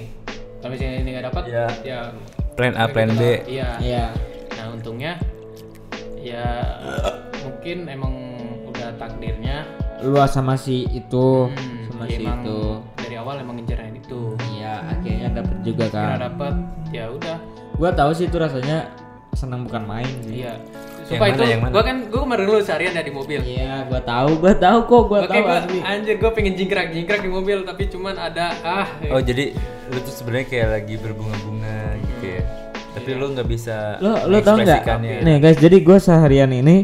[SPEAKER 3] kalau misalnya ini nggak dapat
[SPEAKER 1] Iya.
[SPEAKER 3] ya
[SPEAKER 1] Plan A, plan B.
[SPEAKER 3] iya
[SPEAKER 2] Iya.
[SPEAKER 3] Nah untungnya ya mungkin emang udah takdirnya
[SPEAKER 2] Lu sama si itu,
[SPEAKER 3] hmm,
[SPEAKER 2] sama si
[SPEAKER 3] ya emang
[SPEAKER 2] itu.
[SPEAKER 3] dari awal emang ngincernya itu.
[SPEAKER 2] Iya, akhirnya dapet juga
[SPEAKER 3] Karena
[SPEAKER 1] Ah.
[SPEAKER 2] kan.
[SPEAKER 3] dapat ya udah
[SPEAKER 1] Hmm.
[SPEAKER 2] Gua tahu sih itu rasanya senang bukan main sih.
[SPEAKER 3] iya.
[SPEAKER 1] mana,
[SPEAKER 3] Sumpah itu
[SPEAKER 1] yang mana?
[SPEAKER 3] gua kan gua kemarin lu seharian ya di mobil.
[SPEAKER 2] Iya, gua tahu, gua tahu kok, gua
[SPEAKER 3] Oke
[SPEAKER 2] tahu
[SPEAKER 3] gua
[SPEAKER 2] asli.
[SPEAKER 3] anjir gua pengen jingkrak-jingkrak di mobil tapi cuman ada ah
[SPEAKER 1] Oh jadi lu tuh sebenarnya kayak lagi berbunga-bunga gitu
[SPEAKER 3] Iya.
[SPEAKER 1] ya. Tapi lu nggak bisa
[SPEAKER 2] Lo lo tahu nggak?
[SPEAKER 1] mengekspresikannya.
[SPEAKER 2] Nih guys, jadi gua seharian ini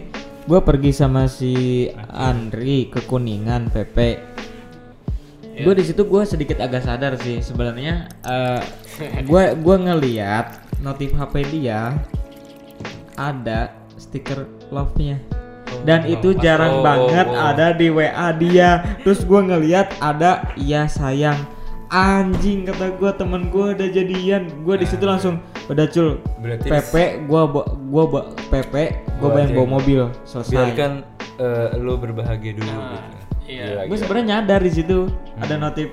[SPEAKER 2] gua pergi sama si Andri ke Kuningan PP.
[SPEAKER 1] Iya.
[SPEAKER 2] Gue di situ gua sedikit agak sadar sih sebenarnya eh, gua gua ngeliat notif HP dia ada stiker love-nya. Dan itu jarang
[SPEAKER 1] Oh,
[SPEAKER 2] banget
[SPEAKER 1] oh.
[SPEAKER 2] ada di WA dia. Terus gua ngeliat ada ya sayang. Anjing kata gua temen gua udah jadian. Gua di situ langsung udah cul
[SPEAKER 1] Berarti
[SPEAKER 2] PP gua ba- gua ba- PP gua
[SPEAKER 1] Gua
[SPEAKER 2] pengen
[SPEAKER 1] aja
[SPEAKER 2] bawa
[SPEAKER 1] yang-
[SPEAKER 2] mobil selesai.
[SPEAKER 3] Iya,
[SPEAKER 1] biarkan eh, lu berbahagia dulu
[SPEAKER 3] Nah,
[SPEAKER 1] gitu.
[SPEAKER 3] iya. Hmm.
[SPEAKER 1] Gila,
[SPEAKER 2] Gue
[SPEAKER 1] gila.
[SPEAKER 2] sebenarnya nyadar di situ ada notif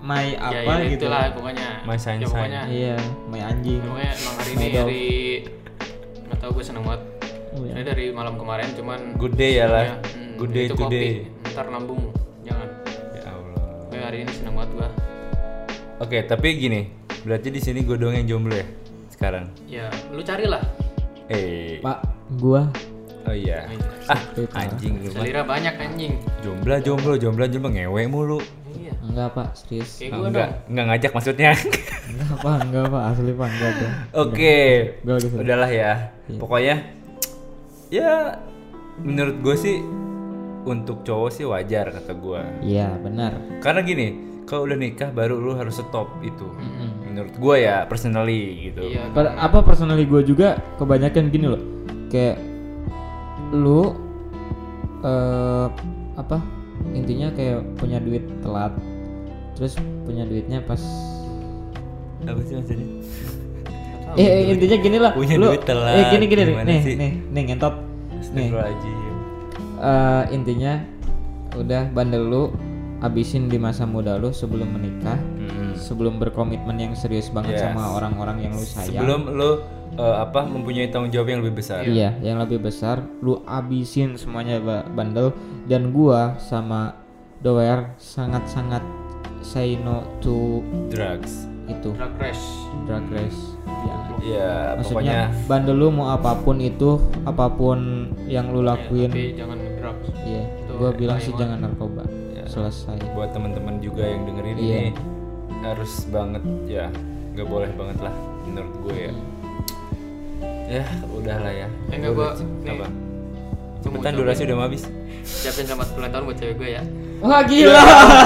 [SPEAKER 2] my
[SPEAKER 3] ya,
[SPEAKER 2] apa
[SPEAKER 3] ya,
[SPEAKER 2] gitu.
[SPEAKER 3] itulah pokoknya.
[SPEAKER 1] My sign,
[SPEAKER 3] ya, pokoknya,
[SPEAKER 2] Iya, my anjing.
[SPEAKER 3] pokoknya emang hari ini
[SPEAKER 2] My dog.
[SPEAKER 3] dari nggak tahu gue seneng banget.
[SPEAKER 2] Oh, iya.
[SPEAKER 3] Ini dari malam kemarin cuman
[SPEAKER 1] Good day ya lah.
[SPEAKER 3] Ya, hmm,
[SPEAKER 1] Good day
[SPEAKER 3] itu
[SPEAKER 1] today.
[SPEAKER 3] kopi. Ntar lambung, jangan.
[SPEAKER 1] Ya Allah.
[SPEAKER 3] Gue hari ini seneng banget gua.
[SPEAKER 1] Oke, tapi gini, berarti di sini gue doang yang jomblo ya sekarang.
[SPEAKER 3] Ya, lu carilah.
[SPEAKER 1] Eh.
[SPEAKER 2] Pak, gua
[SPEAKER 1] Oh iya. Ah, anjing lu mah.
[SPEAKER 3] Selera banyak anjing.
[SPEAKER 1] Jomblo, jomblo, jomblo, jomblo ngewe mulu.
[SPEAKER 3] Iya.
[SPEAKER 2] enggak Pak, serius.
[SPEAKER 3] Kayak
[SPEAKER 1] Ah,
[SPEAKER 3] gua
[SPEAKER 1] enggak,
[SPEAKER 3] dong.
[SPEAKER 1] enggak ngajak maksudnya.
[SPEAKER 2] Enggak Pak, enggak Pak, asli Pak enggak ada.
[SPEAKER 1] Oke.
[SPEAKER 2] Gua udah sadar.
[SPEAKER 1] Udahlah ya.
[SPEAKER 3] Iya.
[SPEAKER 1] Pokoknya ya menurut gue sih untuk cowok sih wajar kata gue.
[SPEAKER 2] Iya, benar.
[SPEAKER 1] Karena gini, kalau udah nikah baru lu harus stop itu. Menurut gue ya personally gitu.
[SPEAKER 3] Iya.
[SPEAKER 2] Per- apa personally gue juga kebanyakan gini loh. Kayak lu eh apa? Intinya kayak punya duit telat. Terus punya duitnya pas
[SPEAKER 1] Apa sih maksudnya?
[SPEAKER 2] eh, eh, intinya gini lah.
[SPEAKER 1] Punya
[SPEAKER 2] lu,
[SPEAKER 1] duit telat,
[SPEAKER 2] Eh, gini gini nih,
[SPEAKER 1] gimana
[SPEAKER 2] nih,
[SPEAKER 1] sih?
[SPEAKER 2] nih, nih ngentot. Nih.
[SPEAKER 1] Astagfirullahaladzim.
[SPEAKER 2] Eh, intinya udah bandel lu habisin di masa muda lu sebelum menikah
[SPEAKER 1] Mm-mm.
[SPEAKER 2] sebelum berkomitmen yang serius banget
[SPEAKER 1] Yes.
[SPEAKER 2] sama orang-orang yang lu sayang
[SPEAKER 1] Sebelum lu eh, apa mempunyai tanggung jawab yang lebih besar.
[SPEAKER 2] iya yang lebih besar lu abisin semuanya ba- bandel dan gua sama Doer sangat-sangat say no to
[SPEAKER 1] Drugs.
[SPEAKER 2] itu
[SPEAKER 3] Drag race.
[SPEAKER 2] drag race ya
[SPEAKER 1] Iya, pokoknya
[SPEAKER 2] maksudnya bandel lu mau apapun itu apapun yang lu lakuin
[SPEAKER 3] Tapi jangan drag.
[SPEAKER 2] Iya,
[SPEAKER 3] Itu
[SPEAKER 2] gua bilang sih
[SPEAKER 3] paling-
[SPEAKER 2] jangan narkoba.
[SPEAKER 1] Iya.
[SPEAKER 2] Selesai.
[SPEAKER 1] buat teman-teman juga yang dengerin
[SPEAKER 2] Iya.
[SPEAKER 1] ini harus banget ya, nggak boleh banget lah menurut gue
[SPEAKER 2] Hmm.
[SPEAKER 1] ya. Ya, udahlah ya.
[SPEAKER 3] Eh, nggak, gua- nih.
[SPEAKER 1] apa?
[SPEAKER 3] Gua mau
[SPEAKER 1] Cepetan
[SPEAKER 3] ucapin-
[SPEAKER 1] durasi udah mau habis.
[SPEAKER 3] Siapin selamat ulang tahun buat cewek gue ya.
[SPEAKER 2] Wah
[SPEAKER 1] Iya,
[SPEAKER 2] gila,
[SPEAKER 3] Asik, gua baru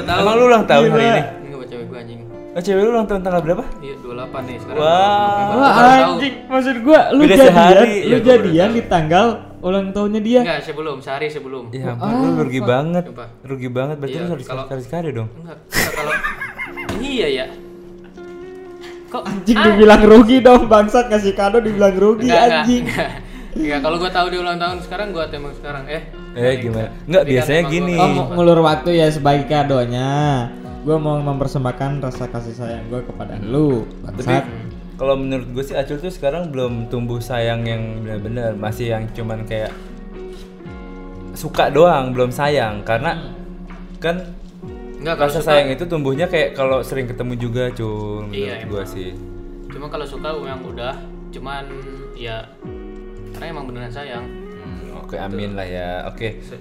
[SPEAKER 3] tahu. Iya.
[SPEAKER 1] Emang lu ulang tahun hari ini?
[SPEAKER 3] Ini buat cewek gue anjing.
[SPEAKER 1] Oh, cewek lu ulang tahun tanggal berapa?
[SPEAKER 3] Iya, 28 nih sekarang.
[SPEAKER 1] Wah.
[SPEAKER 3] November.
[SPEAKER 2] Wah
[SPEAKER 3] Baru tahu.
[SPEAKER 2] anjing, maksud gua lu
[SPEAKER 1] Beda
[SPEAKER 2] jadian,
[SPEAKER 1] sehari.
[SPEAKER 2] lu
[SPEAKER 1] Iya, gua baru
[SPEAKER 2] jadian di tanggal ulang tahunnya
[SPEAKER 1] iya.
[SPEAKER 2] dia.
[SPEAKER 3] Enggak, sebelum sehari sebelum.
[SPEAKER 1] Ya ampun, lu rugi banget.
[SPEAKER 3] Sumpah.
[SPEAKER 1] Rugi banget berarti
[SPEAKER 3] Iya,
[SPEAKER 1] lu harus
[SPEAKER 3] kalau-
[SPEAKER 1] sekali sekali dong.
[SPEAKER 3] Enggak, enggak, kalau Iya ya. Kok
[SPEAKER 2] Anjing dibilang rugi dong, bangsat ngasih kado dibilang rugi
[SPEAKER 3] enggak,
[SPEAKER 2] anjing.
[SPEAKER 3] enggak. Enggak, kalau gue tahu dia ulang tahun sekarang gue tembak sekarang. Eh.
[SPEAKER 1] Eh, gimana? Nggak,
[SPEAKER 3] Tapi kan
[SPEAKER 1] biasanya
[SPEAKER 3] emang
[SPEAKER 1] gini.
[SPEAKER 3] gua
[SPEAKER 2] Oh, ng- ngulur waktu ya sebagai kadonya. Gua mau mempersembahkan rasa kasih sayang gua kepada lu, bangsat.
[SPEAKER 1] Kalau menurut gue sih Acul tuh sekarang belum tumbuh sayang yang benar-benar masih yang cuman kayak suka doang belum sayang karena kan
[SPEAKER 3] Enggak, Hmm. kalau
[SPEAKER 1] rasa
[SPEAKER 3] suka-
[SPEAKER 1] sayang ya? itu tumbuhnya kayak kalau sering ketemu juga Cul menurut
[SPEAKER 3] Iya,
[SPEAKER 1] gue sih
[SPEAKER 3] Cuma kalau suka memang udah, cuman ya karena emang beneran sayang.
[SPEAKER 1] Hmm, oke amin lah ya oke
[SPEAKER 3] So-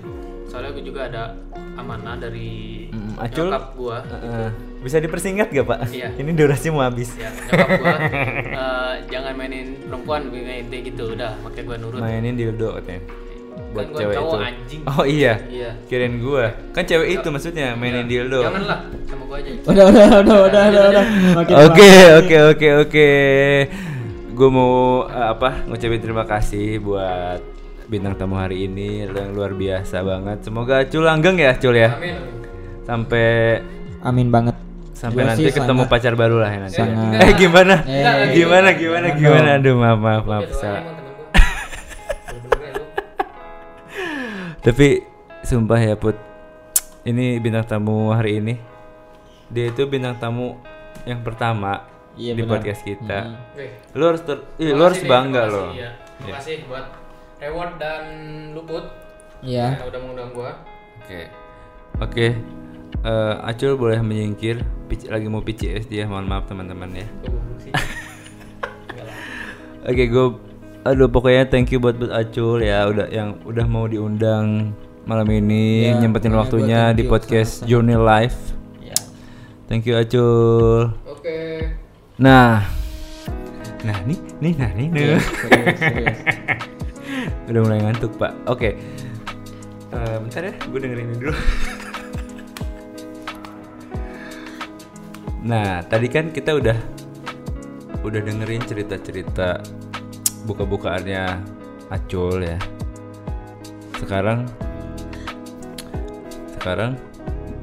[SPEAKER 3] Soalnya gue juga ada amanah dari
[SPEAKER 1] Mm, Acul?
[SPEAKER 3] nyokap gue.
[SPEAKER 1] Eh, bisa dipersingkat gak pak
[SPEAKER 3] Iya.
[SPEAKER 1] ini durasi mau habis
[SPEAKER 3] Ya, nyokap gue eh, jangan mainin perempuan gue kayak intinya gitu udah makanya gue nurut
[SPEAKER 1] mainin dildo katanya buat
[SPEAKER 3] Kan gua
[SPEAKER 1] cewek
[SPEAKER 3] cowok,
[SPEAKER 1] itu
[SPEAKER 3] anjing.
[SPEAKER 1] oh iya
[SPEAKER 3] iya
[SPEAKER 1] kirain gue kan cewek itu maksudnya mainin
[SPEAKER 2] Iya.
[SPEAKER 1] dildo
[SPEAKER 3] janganlah sama gue aja
[SPEAKER 2] Udah udah udah udah udah udah. Makin
[SPEAKER 1] Oke oke oke oke. Gue mau eh, apa ngucapin terima kasih buat bintang tamu hari ini Lo yang luar biasa banget. Semoga Cul langgeng ya Cul ya.
[SPEAKER 3] Amin.
[SPEAKER 1] Sampai
[SPEAKER 2] Amin banget.
[SPEAKER 1] sampai
[SPEAKER 2] Gua
[SPEAKER 1] nanti
[SPEAKER 2] Iya sih
[SPEAKER 1] ketemu
[SPEAKER 2] sangat-
[SPEAKER 1] pacar baru lah ya nanti.
[SPEAKER 2] Sangat- Iya,
[SPEAKER 1] Eh gimana?
[SPEAKER 2] Enggak,
[SPEAKER 1] Eh, gimana gimana gimana? Aduh maaf maaf maaf
[SPEAKER 2] Iya,
[SPEAKER 3] Doain
[SPEAKER 1] salah.
[SPEAKER 3] emang temen gua. Bener-bener ya, lu.
[SPEAKER 1] Tapi sumpah ya Put Ini bintang tamu hari ini Dia itu bintang tamu yang pertama
[SPEAKER 2] Iya,
[SPEAKER 1] Di
[SPEAKER 2] benar.
[SPEAKER 1] podcast kita
[SPEAKER 3] Oke.
[SPEAKER 1] Lu harus ter- ih, lu
[SPEAKER 3] Makasih
[SPEAKER 1] harus
[SPEAKER 3] nih,
[SPEAKER 1] bangga
[SPEAKER 3] makasih,
[SPEAKER 1] loh
[SPEAKER 3] iya. Terima kasih buat reward dan luput
[SPEAKER 2] Iya.
[SPEAKER 3] karena udah mengundang gua.
[SPEAKER 1] Oke Oke Eh, Acul boleh menyingkir Pic- Lagi mau PCS dia mohon maaf teman-teman ya
[SPEAKER 3] Gua goblok sih.
[SPEAKER 1] Oke gue Aduh pokoknya thank you buat, buat Acul ya udah yang udah mau diundang malam ini
[SPEAKER 2] Ya,
[SPEAKER 1] nyempetin
[SPEAKER 2] pokoknya gua
[SPEAKER 1] waktunya
[SPEAKER 2] thank
[SPEAKER 1] di
[SPEAKER 2] you,
[SPEAKER 1] podcast Journey Life.
[SPEAKER 2] Iya.
[SPEAKER 1] Thank you Acul.
[SPEAKER 3] Oke.
[SPEAKER 1] Nah, nah nih, nih, nah nih, nih.
[SPEAKER 2] Serius, serius.
[SPEAKER 1] Udah mulai ngantuk pak. Oke, Eh, bentar ya, gue dengerin ini dulu. nah, tadi kan kita udah udah dengerin cerita-cerita buka-bukaannya Acul ya. Sekarang, sekarang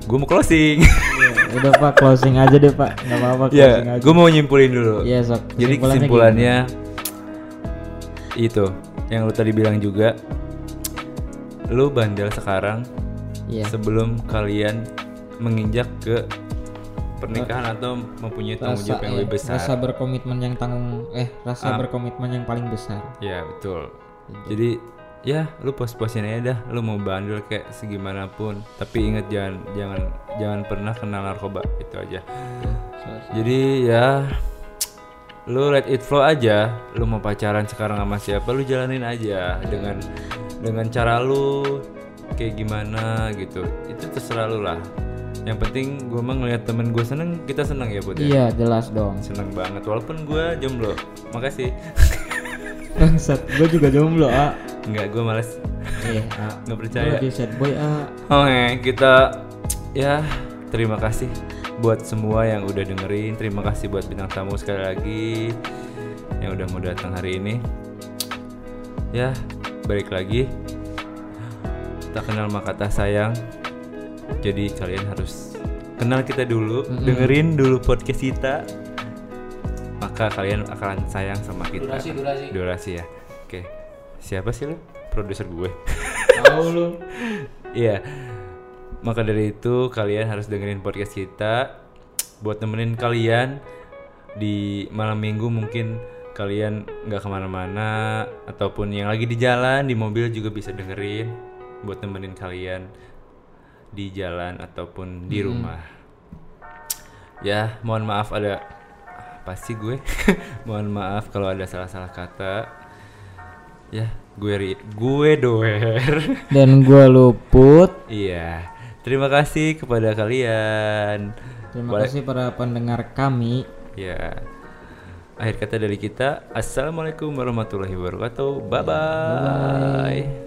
[SPEAKER 1] gue mau closing.
[SPEAKER 2] Iya, Udah Pak closing aja deh Pak. Enggak apa-apa
[SPEAKER 1] ya,
[SPEAKER 2] closing aja.
[SPEAKER 1] gue mau nyimpulin dulu.
[SPEAKER 2] Iya, sok.
[SPEAKER 1] Jadi kesimpulannya itu yang lu tadi bilang juga lu bandel sekarang
[SPEAKER 2] gimana? Iya.
[SPEAKER 1] sebelum kalian menginjak ke pernikahan atau mempunyai tanggung jawab yang
[SPEAKER 2] iya,
[SPEAKER 1] lebih besar. Ah.
[SPEAKER 2] rasa berkomitmen yang tanggung eh rasa berkomitmen yang paling besar.
[SPEAKER 1] Ya, betul. Jadi ya lu pos-posin aja dah lu mau bandel kayak segimanapun tapi inget jangan jangan jangan pernah kenal narkoba itu aja jadi ya lu let it flow aja lu mau pacaran sekarang sama siapa lu jalanin aja dengan dengan cara lu kayak gimana gitu itu terserah lu lah yang penting gue mah ngeliat temen gue seneng kita seneng ya Put ya?
[SPEAKER 2] Iya, jelas dong.
[SPEAKER 1] seneng banget walaupun gue jomblo makasih
[SPEAKER 2] Bangsat, gue juga jomblo, ah.
[SPEAKER 1] nggak gue males
[SPEAKER 2] Eh, ah.
[SPEAKER 1] nggak
[SPEAKER 2] Gue
[SPEAKER 1] percaya
[SPEAKER 2] lagi sad boy, ah.
[SPEAKER 1] Oke, kita ya terima kasih buat semua yang udah dengerin. Terima kasih buat bintang tamu sekali lagi yang udah mau datang hari ini. Ya, balik lagi. Tak kenal maka tak sayang. Jadi kalian harus kenal kita dulu, dengerin dulu podcast kita. Maka kalian akan sayang sama kita.
[SPEAKER 3] Durasi, durasi.
[SPEAKER 1] Durasi ya. Oke. Siapa sih lu? Produser gue.
[SPEAKER 2] Tahu lu.
[SPEAKER 1] Iya. Maka dari itu kalian harus dengerin podcast kita buat nemenin kalian di malam minggu mungkin kalian nggak kemana-mana ataupun yang lagi di jalan di mobil juga bisa dengerin buat nemenin kalian di jalan ataupun di rumah. Ya, mohon maaf ada apa sih gue? mohon maaf kalau ada salah-salah kata. Ya, gue ri- gue doer.
[SPEAKER 2] Dan gue luput.
[SPEAKER 1] Iya. Terima kasih kepada kalian.
[SPEAKER 2] Terima kasih para pendengar kami.
[SPEAKER 1] Ya. Akhir kata dari kita. Assalamualaikum warahmatullahi wabarakatuh. Bye bye.